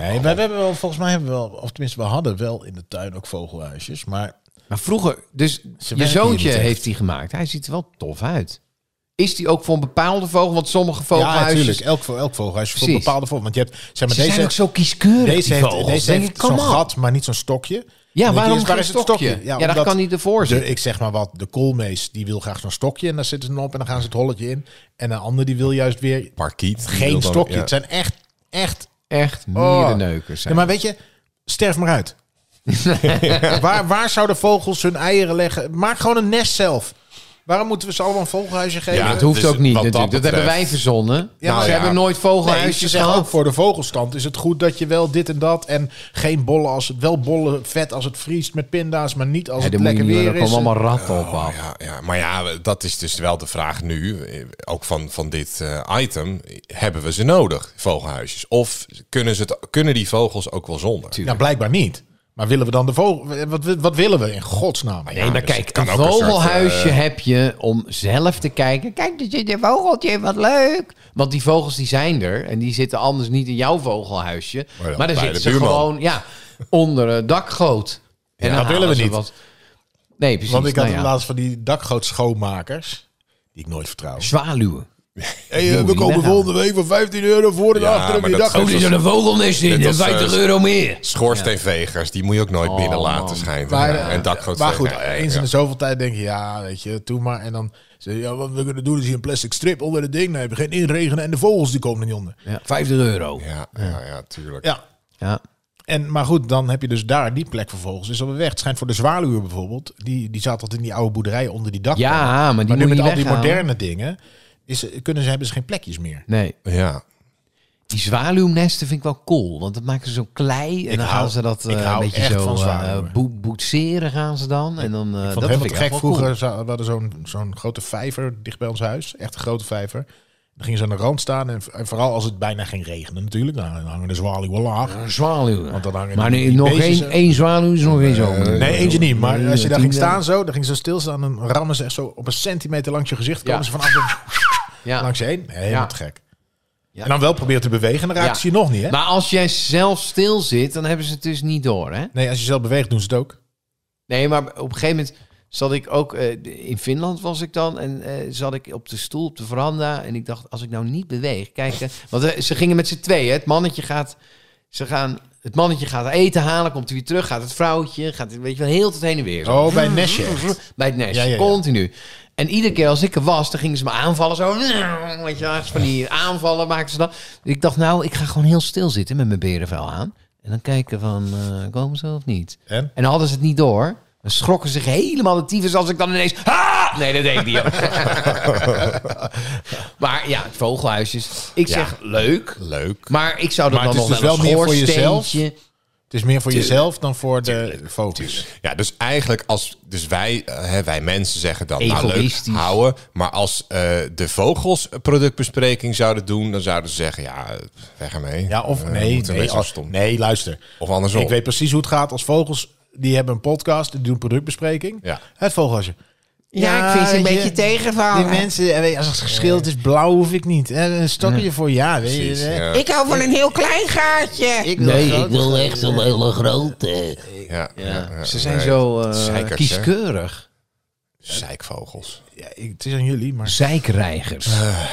Speaker 4: Nee, maar we hebben wel, volgens mij hebben we wel, of tenminste, we hadden wel in de tuin ook vogelhuisjes. Maar
Speaker 3: Maar vroeger, dus je
Speaker 4: werken
Speaker 3: zoontje
Speaker 4: hier niet echt.
Speaker 3: heeft die gemaakt. Hij ziet er wel tof uit. Is die ook voor een bepaalde vogel? Want sommige
Speaker 4: ja,
Speaker 3: vogelhuisjes...
Speaker 4: natuurlijk. Elk, vo- elk vogelhuisje voor een
Speaker 3: Precies.
Speaker 4: bepaalde vogel. Want je hebt, zeg maar,
Speaker 3: Ze zijn
Speaker 4: deze,
Speaker 3: ook zo kieskeurig,
Speaker 4: Deze
Speaker 3: die
Speaker 4: heeft,
Speaker 3: vogels.
Speaker 4: deze
Speaker 3: Denk ik,
Speaker 4: heeft
Speaker 3: come
Speaker 4: zo'n
Speaker 3: on.
Speaker 4: gat, maar niet zo'n stokje.
Speaker 3: Ja,
Speaker 4: Dan denk je,
Speaker 3: waarom
Speaker 4: is- waar
Speaker 3: geen
Speaker 4: is het
Speaker 3: stokje? Ja, dat
Speaker 4: omdat
Speaker 3: kan niet ervoor
Speaker 4: de,
Speaker 3: zitten.
Speaker 4: Ik zeg maar wat, de koolmees die wil graag zo'n stokje en daar zitten ze dan op en dan gaan ze het holletje in. En een ander die wil juist weer
Speaker 2: Parkiet. die wil
Speaker 4: geen
Speaker 2: dan-
Speaker 4: stokje.
Speaker 2: ja.
Speaker 4: Het zijn echt, echt...
Speaker 3: Echt
Speaker 4: oh.
Speaker 3: mierenneukers zijn.
Speaker 4: Ja, maar weet je, sterf maar uit. waar, waar zouden vogels hun eieren leggen? Maak gewoon een nest zelf. Waarom moeten we ze allemaal een vogelhuisje geven?
Speaker 2: Ja,
Speaker 3: dat hoeft
Speaker 2: dus
Speaker 3: ook niet
Speaker 2: wat dat
Speaker 3: natuurlijk. Dat, hebben
Speaker 2: betreft-
Speaker 3: wij verzonnen.
Speaker 2: Nou
Speaker 3: Ze
Speaker 2: ja.
Speaker 3: hebben nooit
Speaker 4: Nee, ze
Speaker 3: vogelhuisjes
Speaker 4: zeggen ook
Speaker 3: gehad.
Speaker 4: voor de vogelstand is het goed dat je wel dit en dat en geen bollen als het wel bollen vet als het vriest met pinda's, maar niet als
Speaker 3: Ja,
Speaker 4: het
Speaker 3: dan moet je
Speaker 4: lekker
Speaker 3: niet, want er
Speaker 4: weer is. Nou, eh,
Speaker 3: komen allemaal ratten op
Speaker 2: Oh,
Speaker 3: af.
Speaker 2: ja, ja, maar ja, dat is dus wel de vraag nu. eh, Ook van, van dit eh, item. Hebben we ze nodig, vogelhuisjes? Of kunnen, ze het, kunnen die vogels ook wel zonder?
Speaker 4: Ja, blijkbaar niet. Maar willen we dan de vogel? Wat, wat willen we in godsnaam?
Speaker 3: Nee, maar
Speaker 2: dus
Speaker 3: kijk,
Speaker 2: het kan
Speaker 3: een
Speaker 2: ook een soort,
Speaker 3: vogelhuisje
Speaker 2: eh,
Speaker 3: heb je om zelf te kijken. Kijk, er zit een vogeltje, wat leuk. Want die vogels die zijn er en die zitten anders niet in jouw vogelhuisje.
Speaker 2: Maar
Speaker 3: Maar,
Speaker 2: dan
Speaker 3: dan
Speaker 2: bij
Speaker 3: zitten
Speaker 2: de
Speaker 3: ze
Speaker 2: buurman.
Speaker 3: gewoon ja, onder het dakgoot. En dan
Speaker 4: dat willen
Speaker 3: halen
Speaker 4: we
Speaker 3: ze
Speaker 4: niet.
Speaker 3: wat- Nee, precies.
Speaker 4: Want ik had
Speaker 3: nou
Speaker 4: het
Speaker 3: ja.
Speaker 4: laatst van die dakgoot schoonmakers die ik nooit vertrouw.
Speaker 3: Zwaluwen.
Speaker 4: Hey,
Speaker 3: eh, we komen volgende
Speaker 4: week voor 15 euro voor en
Speaker 2: Ja, achter op maar je dat dak.
Speaker 4: Dus-
Speaker 2: is-
Speaker 3: een vogelnest
Speaker 2: Net als, eh,
Speaker 3: euro meer.
Speaker 2: Schoorsteenvegers, die moet je ook nooit
Speaker 3: Oh,
Speaker 2: binnen
Speaker 3: man.
Speaker 2: laten schijnen.
Speaker 4: Maar,
Speaker 2: Ja,
Speaker 4: eh,
Speaker 2: en dakgoot
Speaker 4: maar goed,
Speaker 2: tegen- ja,
Speaker 4: eens
Speaker 2: ja.
Speaker 4: in de zoveel tijd denk je, ja, weet je, doe maar. En dan zeg je, ja, wat we kunnen doen is hier een plastic strip onder het ding. Dan heb je geen inregenen en de vogels die komen er niet onder.
Speaker 3: Ja, 50 euro.
Speaker 2: Ja, ja, ja, tuurlijk.
Speaker 4: Ja,
Speaker 3: Ja.
Speaker 4: En, maar goed, dan heb je dus daar die plek vervolgens. Is alweer weg. Het schijnt voor de zwaluwen bijvoorbeeld. Die, die zaten altijd in die oude boerderijen onder die dak.
Speaker 3: Ja, maar die
Speaker 4: maar nu
Speaker 3: moet
Speaker 4: met
Speaker 3: je
Speaker 4: al die
Speaker 3: weghalen.
Speaker 4: moderne dingen is, kunnen ze, hebben ze geen plekjes meer.
Speaker 3: Nee.
Speaker 2: Ja.
Speaker 3: Die zwaluwnesten vind ik wel cool, want dat maken ze zo klei en
Speaker 4: Ik
Speaker 3: dan
Speaker 4: hou-
Speaker 3: gaan ze dat
Speaker 4: ik
Speaker 3: eh, een
Speaker 4: hou
Speaker 3: beetje
Speaker 4: echt
Speaker 3: zo
Speaker 4: van
Speaker 3: eh
Speaker 4: zwaluwen.
Speaker 3: boe- boetseren gaan ze dan en dan eh,
Speaker 4: Ik
Speaker 3: dat
Speaker 4: vond het helemaal
Speaker 3: vind
Speaker 4: te
Speaker 3: ik echt
Speaker 4: gek.
Speaker 3: wel
Speaker 4: Vroeger
Speaker 3: cool.
Speaker 4: za- we hadden zo'n zo'n grote vijver dicht bij ons huis. Echt een grote vijver. Dan gingen ze aan de rand staan en, en vooral als het bijna ging regenen natuurlijk. Nou, dan hangen de zwaluwen laag.
Speaker 3: Zwaluw.
Speaker 4: Want dan hangen
Speaker 3: maar
Speaker 4: die-
Speaker 3: nee,
Speaker 4: die
Speaker 3: nog
Speaker 4: beestjes,
Speaker 3: één,
Speaker 4: hè?
Speaker 3: één zwaluw is nog geen zo.
Speaker 4: Nee, eentje niet. Maar als je daar ging
Speaker 3: tien-
Speaker 4: staan zo, dan ging ze stilstaan en dan rammen ze echt zo op een centimeter langs je gezicht. Komen
Speaker 3: Ja.
Speaker 4: ze vanaf zo
Speaker 3: Ja.
Speaker 4: langs je heen. Helemaal
Speaker 3: Ja.
Speaker 4: te gek.
Speaker 3: Ja.
Speaker 4: En dan wel proberen te bewegen, dan raakt
Speaker 3: Ja.
Speaker 4: ze je nog niet, hè?
Speaker 3: Maar als jij zelf stil zit, dan hebben ze het dus niet door, hè?
Speaker 4: Nee, als je zelf beweegt, doen ze het ook.
Speaker 3: Nee, maar op een gegeven moment zat ik ook... eh, in Finland was ik dan en eh, zat ik op de stoel op de veranda. En ik dacht, als ik nou niet beweeg... Kijk, eh, want eh, ze gingen met z'n tweeën. hè. Het mannetje gaat... Ze gaan, het mannetje gaat eten halen, komt hij weer terug. Gaat het vrouwtje, gaat, weet je wel, heel het heen en weer. zo.
Speaker 4: Oh, bij een nestje. echt.
Speaker 3: Bij het nest,
Speaker 4: Ja, ja, ja.
Speaker 3: continu. En iedere keer als ik er was, dan gingen ze me aanvallen. Zo, weet je, wel, van die aanvallen maakten ze dan. Ik dacht, nou, ik ga gewoon heel stil zitten met mijn berenvel aan. En dan kijken van, eh, komen ze of niet?
Speaker 4: En?
Speaker 3: En dan hadden ze het niet door. Dan schrokken ze zich helemaal de tyfus als ik dan ineens... "Ah!" Nee, dat deed ik niet. hoor. maar ja, het vogelhuisjes. Ik zeg, leuk.
Speaker 2: Leuk.
Speaker 3: Maar ik zou dat
Speaker 4: Maar
Speaker 3: dan
Speaker 4: het
Speaker 3: nog
Speaker 4: is
Speaker 3: wel
Speaker 4: dus wel
Speaker 3: een
Speaker 4: meer voor
Speaker 3: schoorsteentje-
Speaker 4: Het is meer voor jezelf dan voor de focus.
Speaker 2: Ja, dus eigenlijk als dus wij, eh, hè, wij mensen zeggen dan nou leuk
Speaker 3: Egoïstisch.
Speaker 2: houden, maar als eh, de vogels een productbespreking zouden doen, dan zouden ze zeggen ja eh, weg ermee.
Speaker 4: Ja, of
Speaker 2: Eh, we
Speaker 4: nee,
Speaker 2: moeten
Speaker 4: nee,
Speaker 2: wees zo
Speaker 4: als-
Speaker 2: stom.
Speaker 4: nee, luister.
Speaker 2: Of andersom.
Speaker 4: Ik weet precies hoe het gaat als vogels. Die hebben een podcast, die doen productbespreking.
Speaker 2: Ja.
Speaker 4: Het vogelhuisje.
Speaker 3: Ja, ik vind ze een beetje
Speaker 4: Die
Speaker 3: tegenvallen.
Speaker 4: mensen, eh, weet je, als het geschild is, blauw hoef ik niet. En een stokje voor ja, weet je.
Speaker 2: Precies,
Speaker 4: hè.
Speaker 2: ja,
Speaker 5: Ik hou van een heel klein gaatje.
Speaker 4: Ik wil
Speaker 6: Nee,
Speaker 4: groot-
Speaker 6: ik wil echt een hele grote.
Speaker 2: ja, ja, ja,
Speaker 3: Ze zijn
Speaker 2: nee.
Speaker 3: zo eh,
Speaker 2: Zeikers, hè?
Speaker 3: kieskeurig.
Speaker 2: zeikvogels.
Speaker 4: Ja, ik- het is aan jullie, maar...
Speaker 3: Zeikreigers.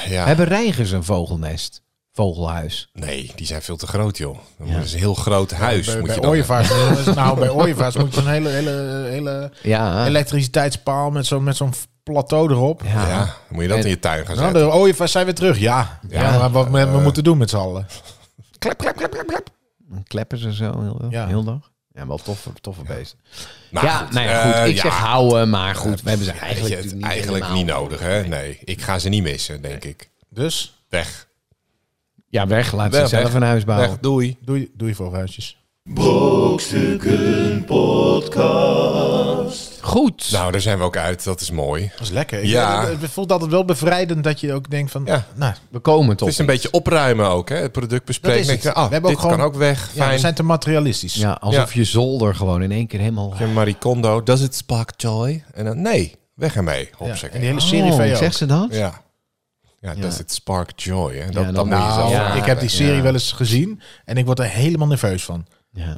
Speaker 2: Ja,
Speaker 3: Hebben reigers een vogelnest? Vogelhuis?
Speaker 2: nee, die zijn veel te groot joh. Dan is een heel groot huis
Speaker 4: Bij,
Speaker 2: moet
Speaker 4: bij
Speaker 2: je dan
Speaker 4: ooievaars, nou, bij ooievaars moet je zo'n hele, hele, hele
Speaker 3: Ja.
Speaker 4: elektriciteitspaal met zo'n met zo'n plateau erop.
Speaker 3: ja.
Speaker 2: hebben. Ja, dan moet je dat in je tuin gaan
Speaker 4: Nou,
Speaker 2: zetten.
Speaker 4: de ooievaars zijn weer terug, ja. ja, maar wat we,
Speaker 2: Eh.
Speaker 4: we moeten doen met z'n allen.
Speaker 5: Klap, klap, klap, klap, klap.
Speaker 3: Dan kleppen ze zo heel,
Speaker 4: Ja.
Speaker 3: heel dag. Ja, wel toffe, toffe beesten.
Speaker 2: Nou,
Speaker 3: ja, nou ja,
Speaker 2: eh,
Speaker 3: goed. Ik
Speaker 2: ja,
Speaker 3: zeg houden, maar goed. We hebben ze
Speaker 2: weet je,
Speaker 3: eigenlijk
Speaker 2: het
Speaker 3: niet
Speaker 2: eigenlijk
Speaker 3: helemaal.
Speaker 2: niet nodig hè. Nee, ik ga ze niet missen denk ik.
Speaker 4: Dus,
Speaker 2: Weg.
Speaker 3: Ja, weg. Laat ze
Speaker 2: Weg,
Speaker 3: zelf
Speaker 2: weg.
Speaker 3: een huis bouwen.
Speaker 2: Weg, doei.
Speaker 4: doe je, doe je vogelhuisjes.
Speaker 1: Brokstukken Podcast.
Speaker 3: Goed.
Speaker 2: Nou, daar zijn we ook uit. Dat is mooi.
Speaker 4: Dat is lekker. Ik-
Speaker 2: Ja.
Speaker 4: Het voelt altijd wel bevrijdend dat je ook denkt van...
Speaker 2: Ja.
Speaker 4: Nou,
Speaker 3: we komen toch.
Speaker 2: Het is een beetje opruimen ook, hè? Het product
Speaker 4: Dat
Speaker 2: bespreken.
Speaker 4: is
Speaker 2: Denk je,
Speaker 4: het.
Speaker 2: ah,
Speaker 4: We hebben ook
Speaker 2: dit
Speaker 4: gewoon-
Speaker 2: kan ook weg.
Speaker 4: ja, we
Speaker 2: Fijn.
Speaker 4: zijn te materialistisch.
Speaker 3: Ja, alsof je zolder gewoon in één keer helemaal...
Speaker 2: En Marie Kondo, does it spark joy? En dan, nee, weg ermee.
Speaker 4: Ja,
Speaker 2: Hopsakee.
Speaker 4: En die hele serie
Speaker 3: Oh,
Speaker 4: van jou.
Speaker 3: zegt ze dat?
Speaker 2: Ja. ja. does it spark joy? Hè? Dat,
Speaker 3: Ja,
Speaker 2: dat
Speaker 3: dan-
Speaker 2: moet je zelf
Speaker 4: Nou,
Speaker 3: Ja,
Speaker 4: ik heb die serie
Speaker 3: ja.
Speaker 4: wel eens gezien en ik word er helemaal nerveus van.
Speaker 3: Ja,
Speaker 2: Ja,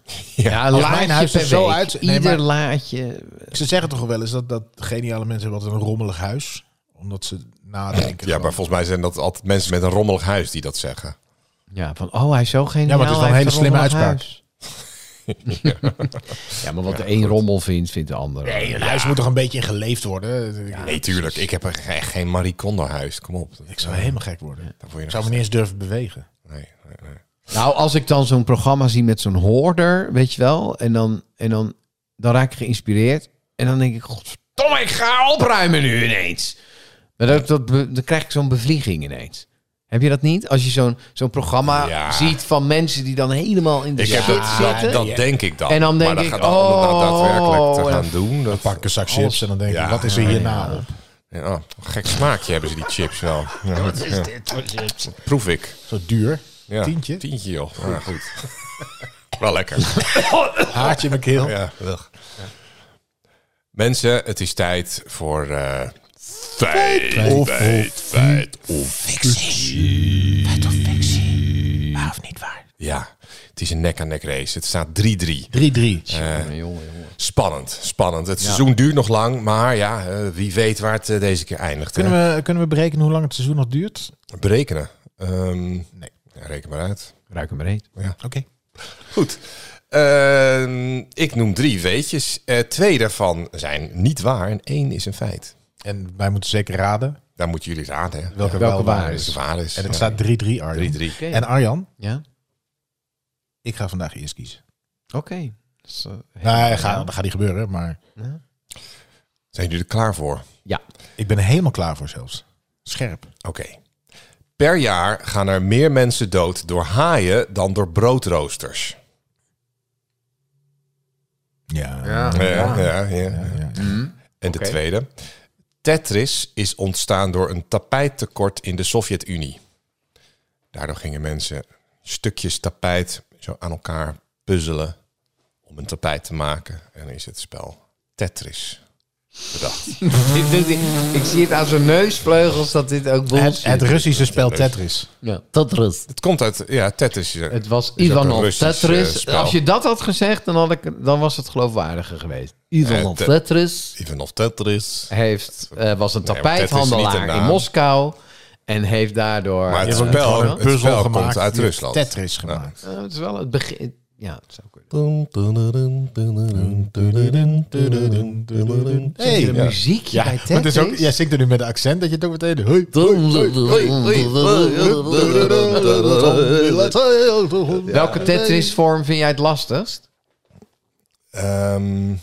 Speaker 3: ja
Speaker 4: als
Speaker 3: laadje
Speaker 4: mijn huis er
Speaker 3: per
Speaker 4: zo
Speaker 3: week.
Speaker 4: uit- nee,
Speaker 3: Ieder
Speaker 4: maar-
Speaker 3: laadje...
Speaker 4: Ze zeggen toch wel eens dat, dat geniale mensen hebben altijd een rommelig huis. Omdat ze nadenken.
Speaker 2: Ja,
Speaker 4: van-
Speaker 2: maar volgens mij zijn dat altijd mensen met een rommelig huis die dat zeggen.
Speaker 3: Ja, van oh, hij is zo geniaal.
Speaker 4: Ja, maar het is wel een
Speaker 3: hij
Speaker 4: hele
Speaker 3: heeft
Speaker 4: slimme
Speaker 3: rommelig
Speaker 4: uitspraak.
Speaker 3: huis. ja, maar wat de een rommel vindt, vindt de ander.
Speaker 4: Nee, een huis moet toch een beetje in geleefd worden?
Speaker 2: Nee, tuurlijk. Ik heb er echt geen Marie Kondo huis. Kom op.
Speaker 4: Ik zou helemaal gek worden.
Speaker 2: Daar word je
Speaker 4: Ik zou
Speaker 2: nog-
Speaker 4: me niet eens durven bewegen.
Speaker 2: nee, nee, nee.
Speaker 3: Nou, als ik dan zo'n programma zie met zo'n hoorder, weet je wel, en dan, en dan, dan raak ik geïnspireerd. En dan denk ik, godverdomme, ik ga opruimen nu ineens. Maar dat, dat, be- dan krijg ik zo'n bevlieging ineens. Heb je dat niet? Als je zo'n zo'n programma
Speaker 2: Ja.
Speaker 3: ziet van mensen die dan helemaal in de
Speaker 2: Ik
Speaker 3: shit
Speaker 2: heb dat, dat,
Speaker 3: zitten.
Speaker 2: dat denk ik dan.
Speaker 3: En dan denk
Speaker 2: maar
Speaker 3: ik,
Speaker 2: gaat dan om dat
Speaker 3: oh,
Speaker 2: daadwerkelijk
Speaker 3: en
Speaker 2: te gaan
Speaker 3: dan-
Speaker 2: doen. Dat,
Speaker 4: Pak een zak chips en dan denk ik,
Speaker 2: Ja.
Speaker 4: wat is er hierna op?
Speaker 2: Ja, oh, gek smaakje hebben ze die chips wel. Ja, goed, ja. Proef ik.
Speaker 4: Zo duur.
Speaker 2: Ja.
Speaker 4: Tientje.
Speaker 2: Tientje, joh. Ja, goed. wel lekker.
Speaker 4: Haartje in mijn keel.
Speaker 2: Ja, ugh. Mensen, het is tijd voor eh feit,
Speaker 4: of-
Speaker 2: feit, feit of
Speaker 4: Ja, of niet waar?
Speaker 2: Ja, het is een nek-aan-nek race. Het staat 3-3.
Speaker 4: 3-3.
Speaker 3: Jongen, jongen, jongen.
Speaker 2: Spannend, spannend. Het seizoen duurt nog lang, maar ja, eh, wie weet waar het eh, deze keer eindigt. hè?
Speaker 4: Kunnen we, kunnen we berekenen hoe lang het seizoen nog duurt?
Speaker 2: Berekenen? Ehm,
Speaker 4: Nee.
Speaker 2: ja, reken maar uit.
Speaker 3: Ruik hem breed.
Speaker 4: Oké.
Speaker 2: Goed. Ehm, ik noem drie weetjes. Eh, twee daarvan zijn niet waar en één is een feit.
Speaker 4: En wij moeten zeker raden
Speaker 2: Daar moeten jullie raden. Hè?
Speaker 3: Welke
Speaker 4: welke, wel
Speaker 3: waar
Speaker 4: waar
Speaker 2: Als
Speaker 4: is.
Speaker 2: het waar is.
Speaker 4: En het staat 3-3, Arjan.
Speaker 2: 3-3.
Speaker 3: Oké.
Speaker 4: En Arjan,
Speaker 3: Ja?
Speaker 4: ik ga vandaag eerst kiezen.
Speaker 3: Oké. Dat is, eh,
Speaker 4: Nee, ga, dat gaat niet gebeuren, maar
Speaker 2: Zijn jullie er klaar voor?
Speaker 3: Ja.
Speaker 4: ik ben er helemaal klaar voor zelfs. Scherp.
Speaker 2: Oké. Per jaar gaan er meer mensen dood door haaien dan door broodroosters.
Speaker 4: Ja.
Speaker 2: Ja, ja, ja.
Speaker 4: ja.
Speaker 2: En de tweede. Tetris is ontstaan door een tapijttekort in de Sovjet-Unie. Daardoor gingen mensen stukjes tapijt zo aan elkaar puzzelen om een tapijt te maken. En is het spel Tetris bedacht.
Speaker 3: Ik doe dit- ik zie het aan zijn neusvleugels dat dit ook bullshit
Speaker 4: Het, het Russische spel Tetris.
Speaker 3: Ja.
Speaker 6: Tot rust.
Speaker 2: het komt uit, ja, Tetris. is-
Speaker 3: Het was
Speaker 2: is ook een
Speaker 3: Ivanov
Speaker 2: Russisch, eh,
Speaker 3: Tetris.
Speaker 2: spel.
Speaker 3: Als je dat had gezegd, dan, had ik, dan was het geloofwaardiger geweest.
Speaker 6: Ivan of
Speaker 2: Eh,
Speaker 6: Tetris.
Speaker 2: Ivanov Tetris.
Speaker 3: Hij heeft, eh, was een
Speaker 2: maar Tetris is niet
Speaker 3: tapijthandelaar
Speaker 2: een
Speaker 3: in
Speaker 2: naam.
Speaker 3: Moskou. En heeft daardoor...
Speaker 2: Maar het
Speaker 3: eh,
Speaker 2: is een spel,
Speaker 4: Gewoon
Speaker 2: hè? Het spel komt uit
Speaker 4: die
Speaker 2: Rusland.
Speaker 4: Tetris gemaakt.
Speaker 3: eh, het is wel het begin... Ja, het zou kunnen.
Speaker 4: Hey,
Speaker 3: Een
Speaker 4: ja.
Speaker 3: muziekje
Speaker 4: Ja,
Speaker 3: bij
Speaker 4: maar het is
Speaker 3: Tetris.
Speaker 4: ook, jij zingt er nu met een accent dat je het ook meteen... Hoi,
Speaker 3: Welke Tetris-vorm vind jij het lastigst?
Speaker 2: Ehm,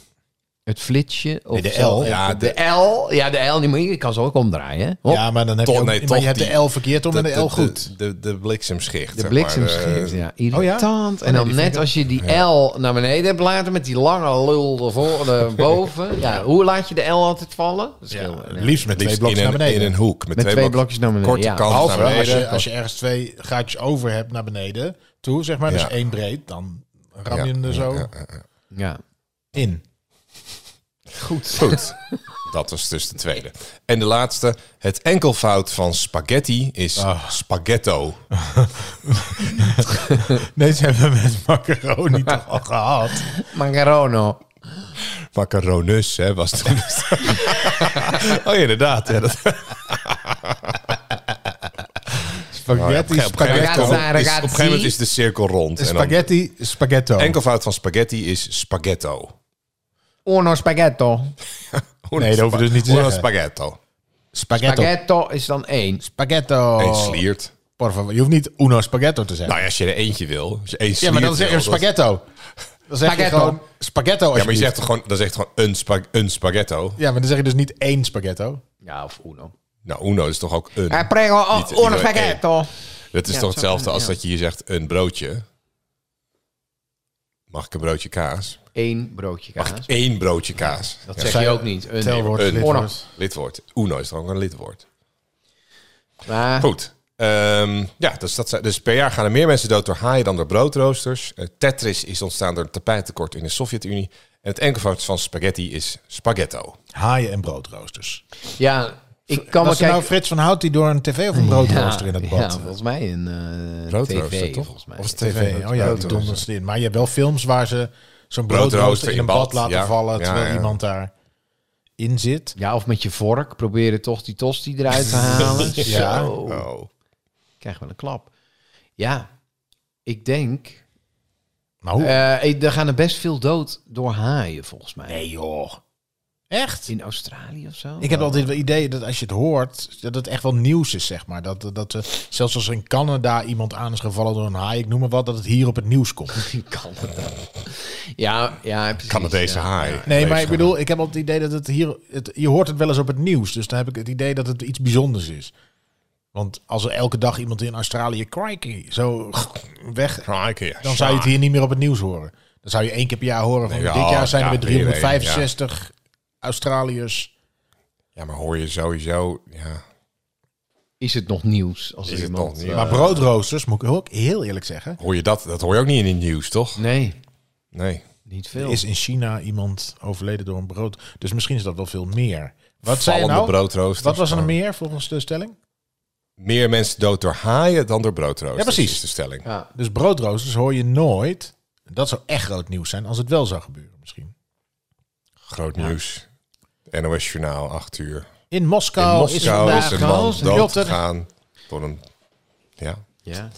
Speaker 3: Het flitsje? Of
Speaker 4: Nee, de
Speaker 3: zo?
Speaker 4: L.
Speaker 2: Ja,
Speaker 3: De, L? Ja, de L niet meer. Je kan ze ook omdraaien. hè? Hop.
Speaker 4: Ja, maar dan heb je,
Speaker 2: Toch,
Speaker 4: ook-
Speaker 2: nee,
Speaker 4: maar
Speaker 2: toch
Speaker 4: je hebt
Speaker 2: die-
Speaker 4: de L verkeerd om en de L goed.
Speaker 2: De, de, de bliksemschicht.
Speaker 3: De
Speaker 2: zeg maar, Eh,
Speaker 3: bliksemschicht,
Speaker 2: de-
Speaker 3: ja. Irritant. En dan net als je die L naar beneden hebt laten... met die lange lul ervoor, erboven. Ja, hoe laat je de L altijd vallen? Dat is heel- eh,
Speaker 4: Ja,
Speaker 3: nee.
Speaker 4: liefst met twee
Speaker 2: liefst
Speaker 4: blokjes
Speaker 2: in
Speaker 4: naar
Speaker 2: een,
Speaker 4: beneden.
Speaker 2: in een hoek. Met,
Speaker 3: Met twee
Speaker 2: blok-
Speaker 3: blokjes naar beneden,
Speaker 2: Korte
Speaker 3: ja.
Speaker 2: kant
Speaker 4: Behalve
Speaker 2: naar
Speaker 4: als
Speaker 2: beneden.
Speaker 4: je, als je ergens twee gaatjes over hebt naar beneden toe, zeg maar, dus
Speaker 2: Ja.
Speaker 4: één breed, dan ram
Speaker 2: Ja,
Speaker 4: je hem er
Speaker 2: ja,
Speaker 4: zo
Speaker 2: ja, ja, ja.
Speaker 3: Ja.
Speaker 4: in.
Speaker 3: Goed.
Speaker 2: Goed. Dat was dus de tweede. En de laatste. Het enkelvoud van spaghetti is
Speaker 4: Ah.
Speaker 2: spaghetto.
Speaker 4: Deze hebben we met macaroni toch al gehad.
Speaker 2: Nou
Speaker 3: Macarono.
Speaker 2: Macaronus, hè, was toen. oh, inderdaad. Ja, dat...
Speaker 4: Spaghetti,
Speaker 2: op, een gegeven moment
Speaker 4: spaghetto.
Speaker 2: komt-
Speaker 3: Ragazza,
Speaker 2: is- op een
Speaker 3: ragazzi.
Speaker 2: gegeven moment is de cirkel rond. En dan-
Speaker 4: Spaghetti, spaghetto.
Speaker 2: enkelvoud van spaghetti is spaghetto.
Speaker 3: Uno spaghetto.
Speaker 4: Nee, dat hoef je dus niet te
Speaker 2: Uno
Speaker 4: zeggen.
Speaker 2: spaghetto.
Speaker 4: Spaghetto.
Speaker 3: Spaghetto is dan één.
Speaker 4: Spaghetto.
Speaker 2: Eén sliert.
Speaker 4: Por favor, Je hoeft niet uno spaghetto te zeggen.
Speaker 2: Nou ja, als je er eentje wil. Als je één
Speaker 4: ja, maar dan zeg
Speaker 2: sliert
Speaker 4: je
Speaker 2: wil, dat-
Speaker 4: spaghetto. Dan zeg je
Speaker 3: Spaghetto.
Speaker 4: gewoon
Speaker 2: Ja,
Speaker 4: spaghetto.
Speaker 2: maar je
Speaker 4: alsjeblieft.
Speaker 2: zegt toch gewoon, dan zegt gewoon een, spa- een spaghetto.
Speaker 4: ja, maar dan zeg je dus niet één spaghetto.
Speaker 3: Ja, of uno.
Speaker 2: Nou, uno is toch ook een.
Speaker 5: Eh, prego,
Speaker 3: oh,
Speaker 5: o-
Speaker 2: Niet- niet
Speaker 5: uno
Speaker 2: door-
Speaker 5: spaghetto.
Speaker 2: Dat is toch
Speaker 3: Ja, zo
Speaker 2: hetzelfde
Speaker 3: kan,
Speaker 2: als
Speaker 3: ja.
Speaker 2: dat je hier zegt een broodje. Mag ik een broodje kaas?
Speaker 3: Eén broodje kaas.
Speaker 2: Eén broodje kaas.
Speaker 3: Dat zeg je ook niet. Een,
Speaker 4: Telwoord,
Speaker 2: een-
Speaker 4: lidwoord.
Speaker 2: Lidwoord. Uno is toch ook een lidwoord.
Speaker 3: maar-
Speaker 2: Goed. Ehm, ja, dus, dat, zijn- dus per jaar gaan er meer mensen dood door haaien dan door broodroosters. Eh, Tetris is ontstaan door een tapijttekort in de Sovjet-Unie. En het enkelvoud van spaghetti is spaghetto.
Speaker 4: Haaien en broodroosters.
Speaker 3: Ja, ik kan wel
Speaker 4: Was er nou
Speaker 3: kijken...
Speaker 4: Frits van Hout die door een tv of een broodrooster in het
Speaker 3: Ja,
Speaker 4: bad?
Speaker 3: volgens mij een eh,
Speaker 2: Broodrooster,
Speaker 3: TV,
Speaker 2: toch?
Speaker 3: volgens mij.
Speaker 2: Of is het
Speaker 4: tv.
Speaker 2: TV?
Speaker 4: Oh ja, die
Speaker 2: Broodrooster.
Speaker 4: doen dat erin. Maar je hebt wel films waar ze zo'n broodrooster in een bad, laten
Speaker 2: ja.
Speaker 4: vallen...
Speaker 2: Ja,
Speaker 4: terwijl
Speaker 2: ja.
Speaker 4: iemand daar in zit.
Speaker 3: Ja, of met je vork proberen toch die tosti eruit te halen.
Speaker 4: Ja.
Speaker 3: Ah, Zo.
Speaker 2: Oh.
Speaker 3: Krijg wel een klap. Ja, ik denk...
Speaker 4: Maar hoe?
Speaker 3: eh, eh, er gaan er best veel dood door haaien, volgens mij.
Speaker 4: nee joh. Echt?
Speaker 3: In Australië of zo?
Speaker 4: Ik heb altijd wel het idee dat als je het hoort, dat het echt wel nieuws is, zeg maar. Dat, dat, eh, zelfs als er in Canada iemand aan is gevallen door een haai, ik noem maar wat, dat het hier op het nieuws komt.
Speaker 3: In Canada. Ja, ja, precies.
Speaker 2: Canadese
Speaker 3: ja.
Speaker 2: haai.
Speaker 4: Nee, maar
Speaker 2: Deze
Speaker 4: ik bedoel, ik heb altijd het idee dat het hier... Het, je hoort het wel eens op het nieuws, dus dan heb ik het idee dat het iets bijzonders is. Want als er elke dag iemand in Australië, crikey, zo weg...
Speaker 2: Kraaien,
Speaker 4: Dan zou je het hier niet meer op het nieuws horen. Dan zou je één keer per jaar horen van,
Speaker 2: Ja,
Speaker 4: dit jaar zijn er
Speaker 2: ja,
Speaker 4: weer
Speaker 2: weer een,
Speaker 4: 365 Australiërs.
Speaker 2: Ja, maar hoor je sowieso... Ja.
Speaker 3: Is het nog nieuws? Als
Speaker 2: Is
Speaker 3: er
Speaker 2: het
Speaker 3: iemand,
Speaker 2: nog nieuws?
Speaker 3: eh,
Speaker 4: Maar broodroosters, moet ik ook heel eerlijk zeggen...
Speaker 2: Hoor je dat? Dat hoor je ook niet in het nieuws, toch?
Speaker 3: Nee,
Speaker 2: Nee.
Speaker 3: niet veel.
Speaker 4: is in China iemand overleden door een brood. Dus misschien is dat wel veel meer. Wat zei je
Speaker 2: Vallende
Speaker 4: nou?
Speaker 2: broodroosters.
Speaker 4: Wat was er
Speaker 2: Oh.
Speaker 4: nog meer volgens de stelling?
Speaker 2: Meer mensen dood door haaien dan door broodroosters.
Speaker 4: Ja, precies.
Speaker 2: Is de stelling.
Speaker 3: Ja.
Speaker 4: Dus broodroosters hoor je nooit. Dat zou echt groot nieuws zijn als het wel zou gebeuren misschien.
Speaker 2: Groot nieuws. NOS Journaal, 8 uur.
Speaker 4: In
Speaker 2: In
Speaker 4: Moskou, Nou, is
Speaker 2: Moskou
Speaker 4: vandaag
Speaker 2: is, een man
Speaker 4: een
Speaker 2: dood
Speaker 4: jotter.
Speaker 2: gegaan door een... Ja.
Speaker 3: ja.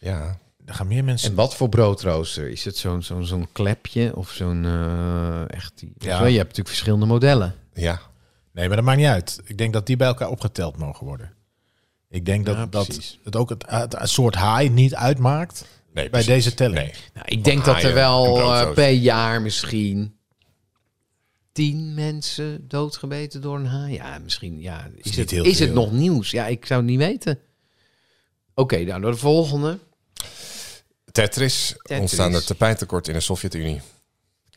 Speaker 2: Ja.
Speaker 4: Er gaan meer mensen...
Speaker 3: En wat voor broodrooster? Is het zo'n zo'n zo'n klepje of zo'n eh, echt? Die,
Speaker 4: Ja.
Speaker 3: Zo, je hebt natuurlijk verschillende modellen.
Speaker 2: Ja.
Speaker 4: Nee, maar dat maakt niet uit. Ik denk dat die bij elkaar opgeteld mogen worden. Ik denk dat,
Speaker 3: Ja,
Speaker 4: dat
Speaker 3: precies.
Speaker 4: het ook het, het- het soort haai niet uitmaakt
Speaker 2: Nee,
Speaker 4: bij
Speaker 2: precies.
Speaker 4: deze telling.
Speaker 2: Nee.
Speaker 3: Nou, ik denk dat er
Speaker 2: haaien en
Speaker 3: wel
Speaker 2: broodrooster.
Speaker 3: eh, per jaar misschien tien mensen doodgebeten door een haai. Ja, misschien. Ja, is,
Speaker 4: niet
Speaker 3: het,
Speaker 4: heel
Speaker 3: is het
Speaker 4: veel.
Speaker 3: nog nieuws? Ja, ik zou het niet weten. Oké, nou de volgende.
Speaker 2: Tetris, ontstaan er tapijttekort in de Sovjet-Unie.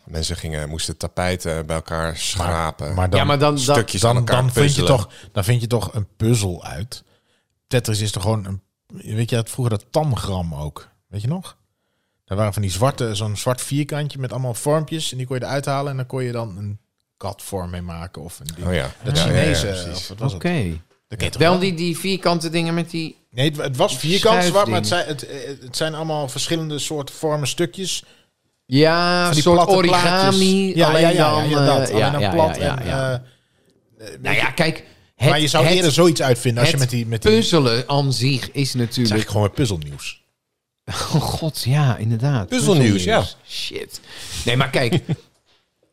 Speaker 2: Mensen gingen, moesten tapijten bij elkaar schrapen.
Speaker 4: Maar dan,
Speaker 3: Ja, maar dan- dan-
Speaker 2: stukjes aan
Speaker 4: dan,
Speaker 2: elkaar
Speaker 4: dan, vind je
Speaker 2: puzzelen.
Speaker 4: toch, dan vind je toch een puzzel uit. Tetris is toch gewoon een... Weet je, dat vroeger dat tamgram ook. Weet je nog? Daar waren van die zwarte, zo'n zwart vierkantje met allemaal vormpjes. En die kon je eruit halen en dan kon je dan een katvorm mee maken. Of een ding.
Speaker 2: Oh ja.
Speaker 4: Dat
Speaker 2: Ja, ja, ja,
Speaker 4: Chinese,
Speaker 2: precies.
Speaker 4: of wat was
Speaker 3: Oké.
Speaker 4: het? Dat ken je toch
Speaker 3: Wel
Speaker 4: wel?
Speaker 3: die, die vierkante dingen met die...
Speaker 4: Nee, het, het was vierkant zwart, maar
Speaker 3: Schuifdingen.
Speaker 4: het zijn, het, eh, het zijn allemaal verschillende soorten vormen, stukjes.
Speaker 3: Ja,
Speaker 4: Van
Speaker 3: een
Speaker 4: die
Speaker 3: soort
Speaker 4: platte
Speaker 3: origami.
Speaker 4: plaatjes. Ja,
Speaker 3: alleen
Speaker 4: ja, ja,
Speaker 3: dan...
Speaker 4: ja,
Speaker 3: eh,
Speaker 4: ja, dat. Alleen dan plat.
Speaker 3: ja,
Speaker 4: en,
Speaker 3: ja.
Speaker 4: eh,
Speaker 3: Nou ja, kijk... Het,
Speaker 4: maar je zou
Speaker 3: het,
Speaker 4: eerder zoiets uitvinden als je met die... Met die het
Speaker 3: puzzelen aan zich is
Speaker 4: is
Speaker 3: natuurlijk...
Speaker 4: eigenlijk gewoon weer puzzelnieuws.
Speaker 3: Oh god, ja, inderdaad.
Speaker 2: Puzzelnieuws, ja.
Speaker 3: Shit. Nee, maar kijk.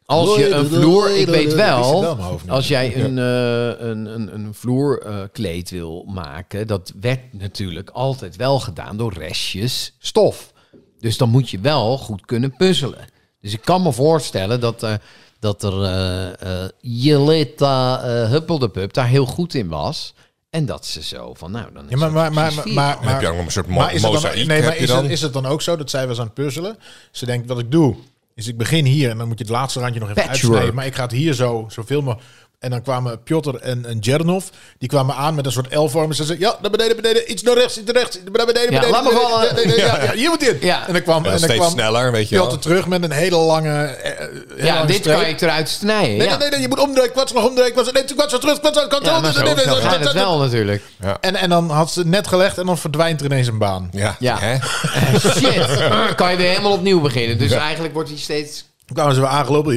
Speaker 3: Als je een vloer, ik weet
Speaker 4: Ik zit wel
Speaker 3: wel,
Speaker 4: in mijn hoofd nu.
Speaker 3: als jij een, eh, een, een, een vloerkleed wil maken, dat werd natuurlijk altijd wel gedaan door restjes stof. Dus dan moet je wel goed kunnen puzzelen. Dus ik kan me voorstellen dat, eh, dat er eh eh Jelita eh, Huppeldepup daar heel goed in was. En dat ze zo van, nou, dan is
Speaker 4: Ja, maar,
Speaker 3: het
Speaker 4: maar, maar,
Speaker 3: precies
Speaker 4: maar,
Speaker 3: vier.
Speaker 4: maar,
Speaker 2: Dan heb je ook nog een soort mo-
Speaker 4: maar is het dan,
Speaker 2: mozaïek,
Speaker 4: nee,
Speaker 2: heb
Speaker 4: maar
Speaker 2: je
Speaker 4: is,
Speaker 2: dan?
Speaker 4: Het, is het dan ook zo dat zij was aan het puzzelen? Ze denkt, wat ik doe, is ik begin hier en dan moet je het laatste randje nog even
Speaker 3: Patchwork.
Speaker 4: uitsnijden. Maar ik ga het hier zo, zoveel mogelijk. En dan kwamen Piotr en, en Jernov, die kwamen aan met een soort L-vorm. En ze zeiden, ja, naar beneden, beneden, iets naar rechts, iets naar rechts, naar beneden, beneden.
Speaker 3: laat me
Speaker 4: beneden,
Speaker 3: vallen.
Speaker 4: beneden, beneden, ja, ja, hier moet in.
Speaker 3: Ja.
Speaker 4: En dan kwam,
Speaker 2: Ja,
Speaker 4: en dan
Speaker 2: steeds
Speaker 4: kwam
Speaker 2: sneller, weet je
Speaker 4: Piotr
Speaker 2: wel.
Speaker 4: terug met een hele lange... eh, eh, hele
Speaker 3: Ja,
Speaker 4: lange
Speaker 3: dit
Speaker 4: streep.
Speaker 3: kan ik eruit snijden.
Speaker 4: Nee,
Speaker 3: ja.
Speaker 4: nee, nee, nee, je moet omdraaien, kwats nog omdraaien, kwats, nee, kwats, terug, kwats, kwats, kwats,
Speaker 3: Ja, maar zo
Speaker 4: nee, nee,
Speaker 3: snel
Speaker 4: nee,
Speaker 3: gaat
Speaker 4: nee,
Speaker 3: het wel natuurlijk.
Speaker 4: en, en dan had ze het net gelegd en dan verdwijnt er ineens een baan.
Speaker 2: Ja,
Speaker 3: Ja.
Speaker 2: Hè?
Speaker 3: Eh, Shit, kan je weer helemaal opnieuw beginnen. Dus eigenlijk wordt hij steeds...
Speaker 4: Dan kwamen ze weer aangelopen.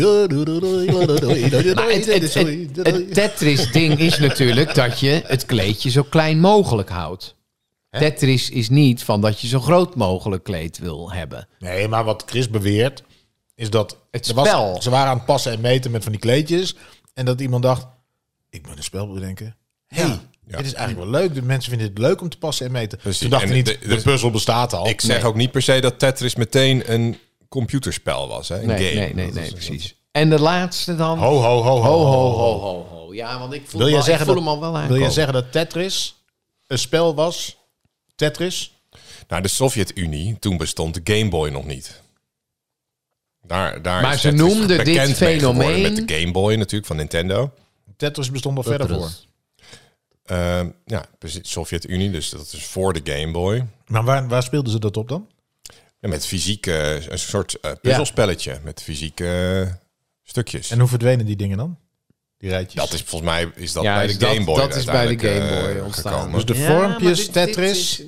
Speaker 3: Maar het, het, het, het Tetris-ding is natuurlijk dat je het kleedje zo klein mogelijk houdt. Tetris is niet van dat je zo groot mogelijk kleed wil hebben.
Speaker 4: Nee, maar wat Chris beweert is dat...
Speaker 3: Het
Speaker 4: er was-
Speaker 3: spel.
Speaker 4: ze waren aan het passen en meten met van die kleedjes. En dat iemand dacht, ik moet een spel bedenken. hey,
Speaker 2: Ja.
Speaker 4: dit is eigenlijk wel leuk. De mensen vinden het leuk om te passen en meten.
Speaker 2: Precies.
Speaker 4: Ze dachten
Speaker 2: En
Speaker 4: niet,
Speaker 2: de-
Speaker 4: de,
Speaker 2: de-
Speaker 4: puzzel bestaat al.
Speaker 2: Ik zeg ook niet per se dat Tetris meteen een computerspel was, hè? Een
Speaker 3: Nee,
Speaker 2: game.
Speaker 3: nee, nee, nee, precies. En de laatste dan?
Speaker 4: Ho, ho, ho, ho,
Speaker 3: ho,
Speaker 4: ho.
Speaker 3: ho, ho, ho. Ja, want ik voel,
Speaker 4: Wil
Speaker 3: hem
Speaker 4: jij
Speaker 3: al- ik
Speaker 4: zeggen
Speaker 3: voel
Speaker 4: dat-
Speaker 3: hem al wel aan.
Speaker 4: Wil je zeggen dat Tetris een spel was? Tetris?
Speaker 2: Nou, de Sovjet-Unie, toen bestond de Game Boy nog niet. Daar, daar
Speaker 3: Maar
Speaker 2: is
Speaker 3: ze
Speaker 2: Tetris
Speaker 3: noemden dit
Speaker 2: bekend mee geworden
Speaker 3: fenomeen-
Speaker 2: Met de Game Boy natuurlijk, van Nintendo.
Speaker 4: Tetris bestond al verder voor.
Speaker 2: Ehm, ja, precies. Sovjet-Unie, dus dat is voor de Game Boy.
Speaker 4: Maar waar, waar speelden ze dat op dan?
Speaker 2: Ja, met fysiek, eh, een soort eh, puzzelspelletje. Met fysieke eh, stukjes.
Speaker 4: En hoe verdwenen die dingen dan? Die rijtjes?
Speaker 2: dat is volgens mij is dat
Speaker 3: Ja,
Speaker 2: bij
Speaker 3: is
Speaker 2: de
Speaker 3: dat-
Speaker 2: Game Boy.
Speaker 3: dat is bij de
Speaker 2: uiteindelijk,
Speaker 3: Game Boy
Speaker 2: eh,
Speaker 3: ontstaan.
Speaker 2: gekomen.
Speaker 4: Dus de vormpjes Tetris,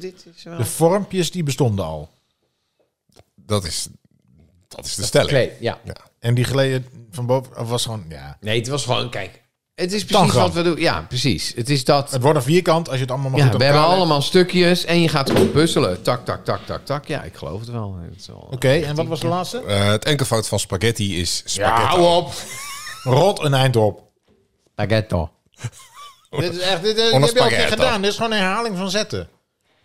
Speaker 4: de vormpjes die bestonden al.
Speaker 2: dat is, dat is de stelling.
Speaker 3: ja.
Speaker 2: Ja.
Speaker 4: En die gleden van boven, of was gewoon, ja.
Speaker 3: Nee, het was gewoon, kijk. Het is precies
Speaker 4: Tangram.
Speaker 3: wat we doen. Ja, precies. Het is dat...
Speaker 4: Het wordt een vierkant als je het allemaal maar
Speaker 3: Ja,
Speaker 4: goed
Speaker 3: we
Speaker 4: aan elkaar
Speaker 3: hebben
Speaker 4: legt.
Speaker 3: allemaal stukjes en je gaat gewoon puzzelen. Tak, tak, tak, tak, tak. Ja, ik geloof het wel. Het is wel-
Speaker 4: Oké, en wat was de laatste?
Speaker 2: Eh, het enkelvoud van spaghetti is spaghetti.
Speaker 4: op. Rot een eind op.
Speaker 3: Spaghetto.
Speaker 4: dit is echt, dit, dit
Speaker 2: een
Speaker 4: heb je al een keer
Speaker 2: spaghetto.
Speaker 4: gedaan. Dit is gewoon een herhaling van zetten.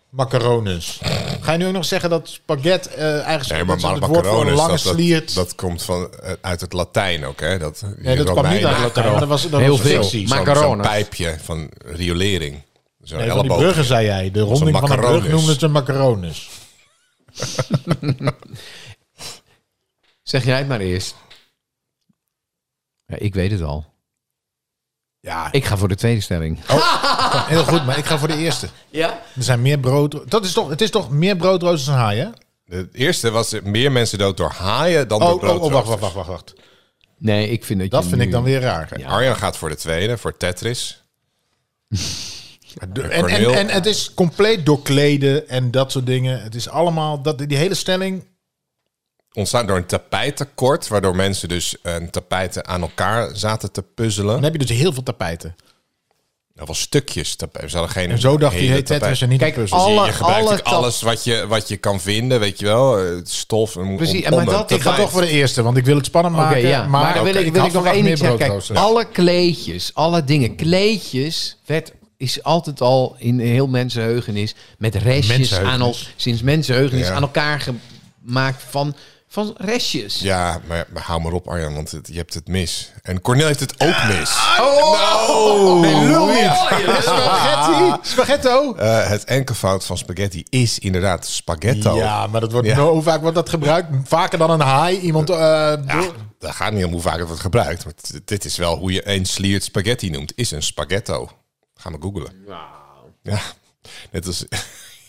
Speaker 4: Macarones. Ga je nu ook nog zeggen dat spaghet eh eigenlijk
Speaker 2: Nee, maar,
Speaker 4: dat
Speaker 2: maar
Speaker 4: het woord voor een
Speaker 2: macarones,
Speaker 4: lange
Speaker 2: dat, dat,
Speaker 4: sliert...
Speaker 2: dat komt van, eh, uit het Latijn ook, hè? Dat,
Speaker 4: nee, dat kwam niet uit Latijn, maar dat was, dat
Speaker 3: Heel
Speaker 4: was
Speaker 3: veel.
Speaker 4: fictie.
Speaker 3: Maar-
Speaker 2: Zo'n zo'n
Speaker 3: Macarones.
Speaker 2: pijpje van riolering. Zo'n
Speaker 4: Nee, van die
Speaker 2: elleboog.
Speaker 4: bruggen zei jij. De ronding van een brug
Speaker 2: macarones.
Speaker 4: noemden ze macarones.
Speaker 3: Zeg jij het maar eerst. Ja, ik weet het al.
Speaker 4: Ja,
Speaker 3: Ik ga voor de tweede stelling.
Speaker 4: heel goed, maar ik ga voor de eerste.
Speaker 3: Ja?
Speaker 4: Er zijn meer brood. Dat is toch, het is toch meer broodroosters dan haaien? hè?
Speaker 2: Het eerste was eh, meer mensen dood door haaien dan
Speaker 4: Oh,
Speaker 2: door
Speaker 4: oh, oh, wacht,
Speaker 2: broodroosters.
Speaker 4: wacht, wacht, wacht, wacht.
Speaker 3: Nee, ik vind dat
Speaker 4: Dat
Speaker 3: je
Speaker 4: vind
Speaker 3: nu-
Speaker 4: ik dan weer raar.
Speaker 3: Ja.
Speaker 2: Arjan gaat voor de tweede, voor Tetris.
Speaker 4: En, en,
Speaker 2: Corneel.
Speaker 4: en, en het is compleet doorkleden en dat soort dingen. Het is allemaal, dat, die hele stelling...
Speaker 2: Ontstaan door een tapijttekort, waardoor mensen dus een tapijten aan elkaar zaten te puzzelen.
Speaker 4: Dan heb je dus heel veel tapijten.
Speaker 2: Dat was stukjes tapijt. Ze hadden geen
Speaker 4: En zo dacht hij,
Speaker 2: hele
Speaker 4: hey, Tetris en niet
Speaker 3: Kijk,
Speaker 4: de puzzel.
Speaker 3: al-
Speaker 2: Je-
Speaker 3: Alle-
Speaker 2: je gebruikt
Speaker 3: alle
Speaker 2: natuurlijk
Speaker 3: tap-
Speaker 2: alles wat je, wat je kan vinden, weet je wel. eh, Stof. en
Speaker 3: Precies,
Speaker 2: om,
Speaker 3: maar
Speaker 2: om een
Speaker 3: dat- ik
Speaker 4: Ik ga
Speaker 2: tapijt.
Speaker 4: toch voor de eerste, want ik wil het spannend
Speaker 3: Oké,
Speaker 4: maken.
Speaker 3: ja. Maar,
Speaker 4: Maar,
Speaker 3: dan wil
Speaker 4: oké,
Speaker 3: ik, wil
Speaker 4: had
Speaker 3: ik nog
Speaker 4: verwacht
Speaker 3: één
Speaker 4: meer
Speaker 3: ding zeggen. Kijk,
Speaker 4: broodroosters.
Speaker 3: alle kleedjes, alle dingen. Kleedjes werd, is altijd al in heel mensenheugenis met restjes
Speaker 4: Mensenheugenis.
Speaker 3: aan ons sinds mensenheugenis
Speaker 2: Ja.
Speaker 3: aan elkaar gemaakt van, van restjes.
Speaker 2: Ja, maar, maar hou maar op Arjan, want het- je hebt het mis. En Cornel heeft het ook mis.
Speaker 3: Oh,
Speaker 4: Nee, lul niet.
Speaker 3: Spaghetti. Spaghetto.
Speaker 2: Eh, het enkelvoud van spaghetti is inderdaad spaghetto.
Speaker 4: Ja, maar dat wordt,
Speaker 2: Ja.
Speaker 4: nou, hoe vaak wordt dat gebruikt? Vaker dan een haai. Iemand eh, door-
Speaker 2: dat gaat niet om hoe vaak het wordt gebruikt. Maar t- dit is wel hoe je een sliert spaghetti noemt. Is een spaghetto. Ga maar googlen.
Speaker 4: Nou.
Speaker 2: Ja, net als...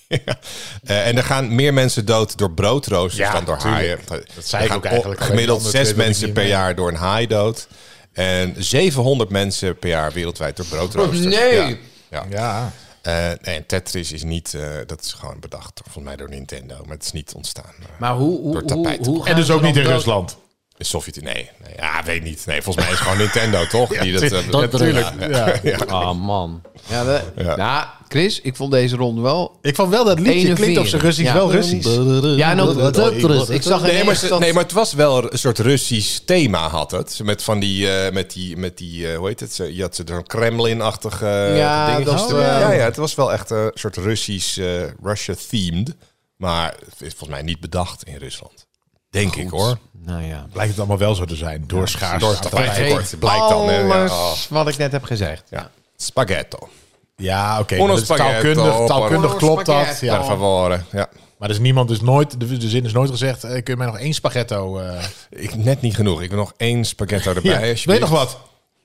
Speaker 2: Ja. Eh, en er gaan meer mensen dood door broodroosters
Speaker 4: Ja,
Speaker 2: dan door
Speaker 4: tuurlijk.
Speaker 2: haaien.
Speaker 4: Dat
Speaker 2: Er
Speaker 4: zei ik
Speaker 2: gaan
Speaker 4: ook eigenlijk.
Speaker 2: op- Gemiddeld
Speaker 4: Alleen die andere
Speaker 2: zes
Speaker 4: twee doe
Speaker 2: mensen
Speaker 4: ik
Speaker 2: per
Speaker 4: niet
Speaker 2: jaar door een haai dood. En 700 mensen per jaar wereldwijd door broodroosters.
Speaker 3: nee.
Speaker 2: Ja. Ja.
Speaker 4: Oh, Ja.
Speaker 2: Eh, nee, Tetris is niet... eh, dat is gewoon bedacht, volgens mij door Nintendo. Maar het is niet ontstaan. eh,
Speaker 3: Maar hoe, hoe,
Speaker 2: Door
Speaker 3: hoe,
Speaker 2: tapijt te
Speaker 3: hoe
Speaker 2: plakken.
Speaker 3: gaan
Speaker 4: En dus
Speaker 3: ze
Speaker 4: ook
Speaker 3: dan
Speaker 4: niet in
Speaker 3: dood?
Speaker 4: Rusland.
Speaker 2: De Sovjet nee, nee, ja, weet niet. Nee, volgens mij is het gewoon Nintendo, toch? Die dat, eh,
Speaker 6: dat
Speaker 2: natuurlijk.
Speaker 6: terug.
Speaker 4: Ja.
Speaker 3: Ah, man. Ja, we-
Speaker 2: Ja.
Speaker 3: Nou, Chris, ik vond deze ronde wel...
Speaker 4: Ik vond wel dat liedje klinkt op zijn Russisch
Speaker 3: Ja.
Speaker 4: wel Russisch.
Speaker 3: Ja, en ook dat Tetris. Ik zag
Speaker 2: Nee maar,
Speaker 3: ineens
Speaker 2: ze-
Speaker 3: dat...
Speaker 2: nee, maar het was wel een soort Russisch thema, had het. Ze Met van die, eh, met die, met die eh, hoe heet het? Ze- Je had ze zo'n Kremlin-achtig eh,
Speaker 3: Ja,
Speaker 2: ding
Speaker 3: dat is
Speaker 2: gestoken.
Speaker 3: wel-
Speaker 2: ja, ja, het was wel echt een soort Russisch, eh, Russia-themed. Maar het is volgens mij niet bedacht in Rusland. Denk ik, hoor.
Speaker 3: Nou ja.
Speaker 4: Blijkt het allemaal wel zo te zijn. Door schaars.
Speaker 2: Door het tekort, blijkt dan. hè. Ja,
Speaker 3: Alles
Speaker 2: oh.
Speaker 3: wat ik net heb gezegd.
Speaker 2: ja. Spaghetto.
Speaker 4: Ja, oké.
Speaker 2: Uno
Speaker 4: dat is
Speaker 2: spaghetto,
Speaker 4: Taalkundig, taalkundig
Speaker 3: Uno
Speaker 4: klopt dat.
Speaker 3: spaghetto.
Speaker 2: Ja.
Speaker 4: Ja.
Speaker 2: Per favore. Ja.
Speaker 4: Maar dus niemand is nooit, de, de zin is nooit gezegd, eh, kun je mij nog één spaghetto... eh
Speaker 2: Ik, net niet genoeg. Ik wil nog één spaghetto erbij.
Speaker 4: ja. Weet je
Speaker 2: alsjeblieft.
Speaker 4: nog wat?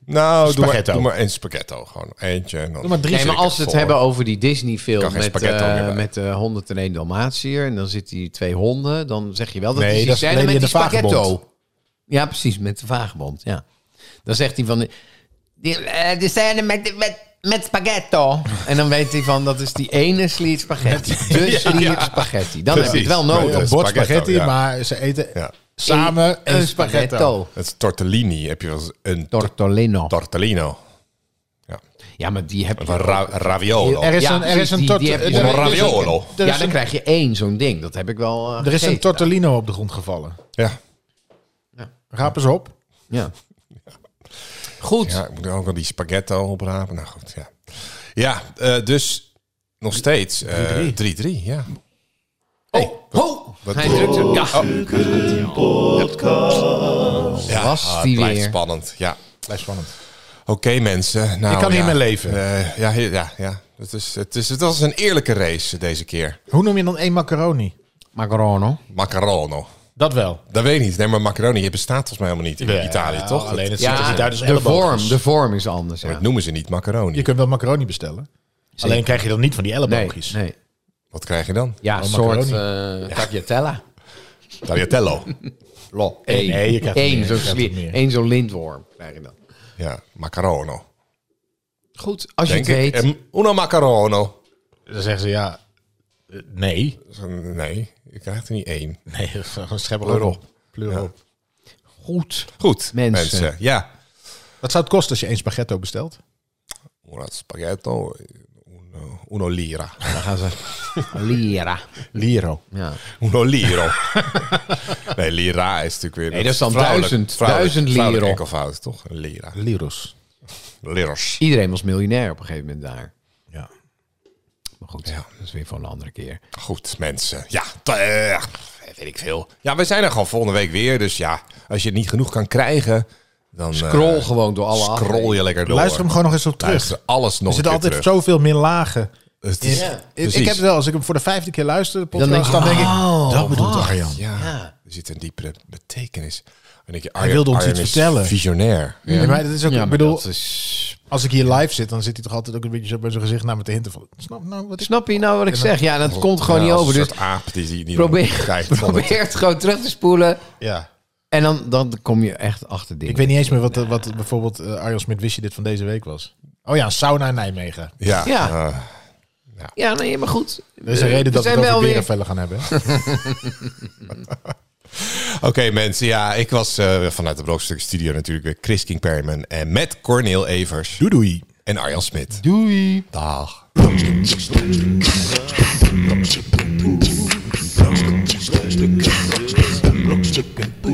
Speaker 2: Nou, doe maar,
Speaker 4: Spaghetto.
Speaker 2: doe maar één spaghetto. Gewoon eentje. en Dan
Speaker 4: Doe maar drie.
Speaker 3: Nee, maar
Speaker 2: zeker
Speaker 3: als we het
Speaker 2: voor.
Speaker 3: hebben over die Disney-film
Speaker 2: Kan geen
Speaker 3: met,
Speaker 2: spaghetto meer
Speaker 3: eh
Speaker 2: bij.
Speaker 3: met eh 101 Dalmatiër en dan zitten die twee honden, dan zeg je wel dat
Speaker 4: Nee,
Speaker 3: is die
Speaker 4: dat is
Speaker 3: scène
Speaker 4: Lady
Speaker 3: met die
Speaker 4: en de
Speaker 3: spaghetto.
Speaker 4: Vagebond.
Speaker 3: Ja, precies, met de vagebond, ja. Dan zegt hij van,
Speaker 5: Die, eh, die scène met, met, met spaghetto.
Speaker 3: en dan weet hij van, dat is die ene slier spaghetti, de slier spaghetti. Dan heb je
Speaker 2: Precies.
Speaker 3: het wel
Speaker 2: Met
Speaker 3: nodig.
Speaker 2: een
Speaker 4: Een bord
Speaker 2: spaghetto,
Speaker 4: spaghetti,
Speaker 2: ja.
Speaker 4: maar ze eten
Speaker 2: Ja.
Speaker 4: samen een, spaghetto.
Speaker 2: Het is tortellini. Heb je wel eens een
Speaker 3: Tortolino.
Speaker 2: tortellino? Ja.
Speaker 3: Ja, maar die heb
Speaker 2: Of
Speaker 3: je
Speaker 2: een ra- raviolo.
Speaker 4: Er is
Speaker 3: Ja,
Speaker 4: een, er is
Speaker 3: precies,
Speaker 4: een,
Speaker 3: die-
Speaker 4: tort-
Speaker 3: die
Speaker 4: er
Speaker 3: heb
Speaker 4: is
Speaker 3: je
Speaker 4: een
Speaker 2: nog. Raviolo.
Speaker 4: Er
Speaker 3: Ja,
Speaker 4: is
Speaker 3: dan
Speaker 4: een,
Speaker 3: krijg je één zo'n ding. Dat heb ik wel eh,
Speaker 4: er is een
Speaker 3: gegeten.
Speaker 4: tortellino op de grond gevallen.
Speaker 2: Ja.
Speaker 4: Raap eens op.
Speaker 3: Ja. Goed.
Speaker 2: ja, ik moet ook al die spaghetto oprapen. Nou goed, ja. Ja, eh, dus nog steeds eh, 3-3. ja.
Speaker 3: Oh, oh.
Speaker 2: Wat-
Speaker 3: Hij drukt er. Ja.
Speaker 2: ja.
Speaker 3: was
Speaker 2: ah,
Speaker 3: die
Speaker 2: het blijft
Speaker 3: weer.
Speaker 2: spannend, ja.
Speaker 4: Blijft spannend.
Speaker 2: Oké mensen. Nou,
Speaker 4: Ik kan
Speaker 2: ja.
Speaker 4: hiermee leven.
Speaker 2: Eh, ja, ja, ja, ja. Het, is, het, is, het was een eerlijke race deze keer.
Speaker 4: Hoe noem je dan één macaroni?
Speaker 3: Macarono.
Speaker 2: Macarono.
Speaker 4: Dat wel.
Speaker 2: Dat weet ik niet. Nee, maar macaroni bestaat volgens mij helemaal niet in
Speaker 4: Ja,
Speaker 2: Italië, toch? Dat-
Speaker 4: Alleen het ziet er
Speaker 3: Ja,
Speaker 4: niet uit als
Speaker 3: de
Speaker 4: elleboog.
Speaker 3: vorm, de vorm is anders.
Speaker 2: Maar
Speaker 3: dus Ja.
Speaker 2: dat noemen ze niet macaroni.
Speaker 4: Je kunt wel macaroni bestellen. Alleen krijg je dan niet van die
Speaker 3: Nee,
Speaker 4: elleboogjes.
Speaker 3: nee.
Speaker 2: Wat krijg je dan?
Speaker 3: Ja, een
Speaker 4: Oh,
Speaker 3: soort
Speaker 4: macaroni.
Speaker 3: eh tagliatella.
Speaker 2: Tagliatello.
Speaker 3: Lol.
Speaker 4: Nee,
Speaker 3: Eén.
Speaker 4: nee, je krijgt er
Speaker 3: Eén
Speaker 4: meer,
Speaker 3: zo'n
Speaker 4: je krijgt
Speaker 3: slier-
Speaker 4: er meer.
Speaker 3: één zo'n lintworm krijg je dan.
Speaker 2: ja, macarono.
Speaker 3: Goed, als je
Speaker 2: Denk
Speaker 3: het
Speaker 2: ik.
Speaker 3: weet.
Speaker 4: eh,
Speaker 2: Em, Una macarono.
Speaker 4: Dan zeggen ze ja, eh, nee.
Speaker 2: Dat is een- Nee, je krijgt er niet één.
Speaker 4: Nee, dat is gewoon een schepper
Speaker 2: Pleur
Speaker 4: op.
Speaker 2: op.
Speaker 4: Pleur
Speaker 2: Ja.
Speaker 4: op.
Speaker 3: Goed.
Speaker 2: Goed,
Speaker 3: Mensen.
Speaker 2: mensen. Ja.
Speaker 4: Wat zou het kosten als je één spaghetto bestelt?
Speaker 2: Una spaghetto, uno, uno lira.
Speaker 3: Dan gaan ze. Lira.
Speaker 4: Liro.
Speaker 3: Ja.
Speaker 2: Uno liro. nee, lira is natuurlijk weer...
Speaker 3: Nee, dat is dan
Speaker 2: vrouwelijk-
Speaker 3: duizend-
Speaker 2: vrouwelijk-
Speaker 3: duizend liro.
Speaker 2: vrouwelijk enkelvoud, toch? Een Lira.
Speaker 4: Liros.
Speaker 2: Liros.
Speaker 3: Iedereen was miljonair op een gegeven moment daar.
Speaker 4: Ja.
Speaker 3: Maar goed, dat is weer voor een andere keer.
Speaker 2: Goed, mensen. Ja, t- eh, weet ik veel. Ja, we zijn er gewoon volgende week weer. Dus ja, als je het niet genoeg kan krijgen, dan... eh,
Speaker 3: Scroll gewoon door alle
Speaker 2: Scroll je lekker door.
Speaker 4: Luister hem gewoon nog eens op terug.
Speaker 2: Luister alles nog
Speaker 4: Er
Speaker 2: een
Speaker 4: zitten
Speaker 2: keer
Speaker 4: altijd
Speaker 2: terug.
Speaker 4: zoveel meer lagen.
Speaker 2: Dus het is-
Speaker 4: in- ik,
Speaker 2: precies.
Speaker 4: ik heb het wel, als ik hem voor de vijfde keer luister, de podcast,
Speaker 3: denk je,
Speaker 4: dan denk ik,
Speaker 3: oh,
Speaker 4: dat bedoelt
Speaker 3: wacht.
Speaker 4: Arjan.
Speaker 2: Ja, er zit een diepere betekenis. En ik, Arjen,
Speaker 4: wilde ons
Speaker 2: Arjen
Speaker 4: iets
Speaker 2: is
Speaker 4: vertellen.
Speaker 2: Visionair. Ja.
Speaker 4: Nee, maar dat is ook,
Speaker 3: Ja,
Speaker 4: ik
Speaker 3: maar
Speaker 4: bedoel,
Speaker 3: dat is...
Speaker 4: als ik hier live zit, dan zit hij toch altijd ook een beetje zo bij zijn gezicht naar me te hinten van, snap nou wat ik...
Speaker 3: Snap je nou wat ik zeg? Ja, dat komt gewoon
Speaker 2: oh, Ja,
Speaker 3: niet
Speaker 2: als
Speaker 3: over.
Speaker 2: Een
Speaker 3: Dus
Speaker 2: soort aap die die niet
Speaker 3: probeer,
Speaker 2: kijkt. van het-
Speaker 3: probeer het gewoon terug te spoelen.
Speaker 4: Ja.
Speaker 3: En dan, dan kom je echt achter dingen.
Speaker 4: Ik weet niet eens meer wat, eh, wat bijvoorbeeld eh, Arjan Smit wist je dit van deze week was. Oh ja, een sauna in Nijmegen.
Speaker 2: Ja.
Speaker 3: Ja.
Speaker 2: eh,
Speaker 3: Ja, nee, maar goed.
Speaker 4: Er is een reden dat Eh, we het over berenvellen gaan hebben.
Speaker 2: Oké mensen, ja, ik was eh, vanuit de Brokstukken Studio natuurlijk weer Chris King Perryman en met Corneel Evers. Doei doei. En Arjan Smit.
Speaker 3: Doei.
Speaker 2: Dag.
Speaker 1: Brokstukken, brokstukken, brokstukken,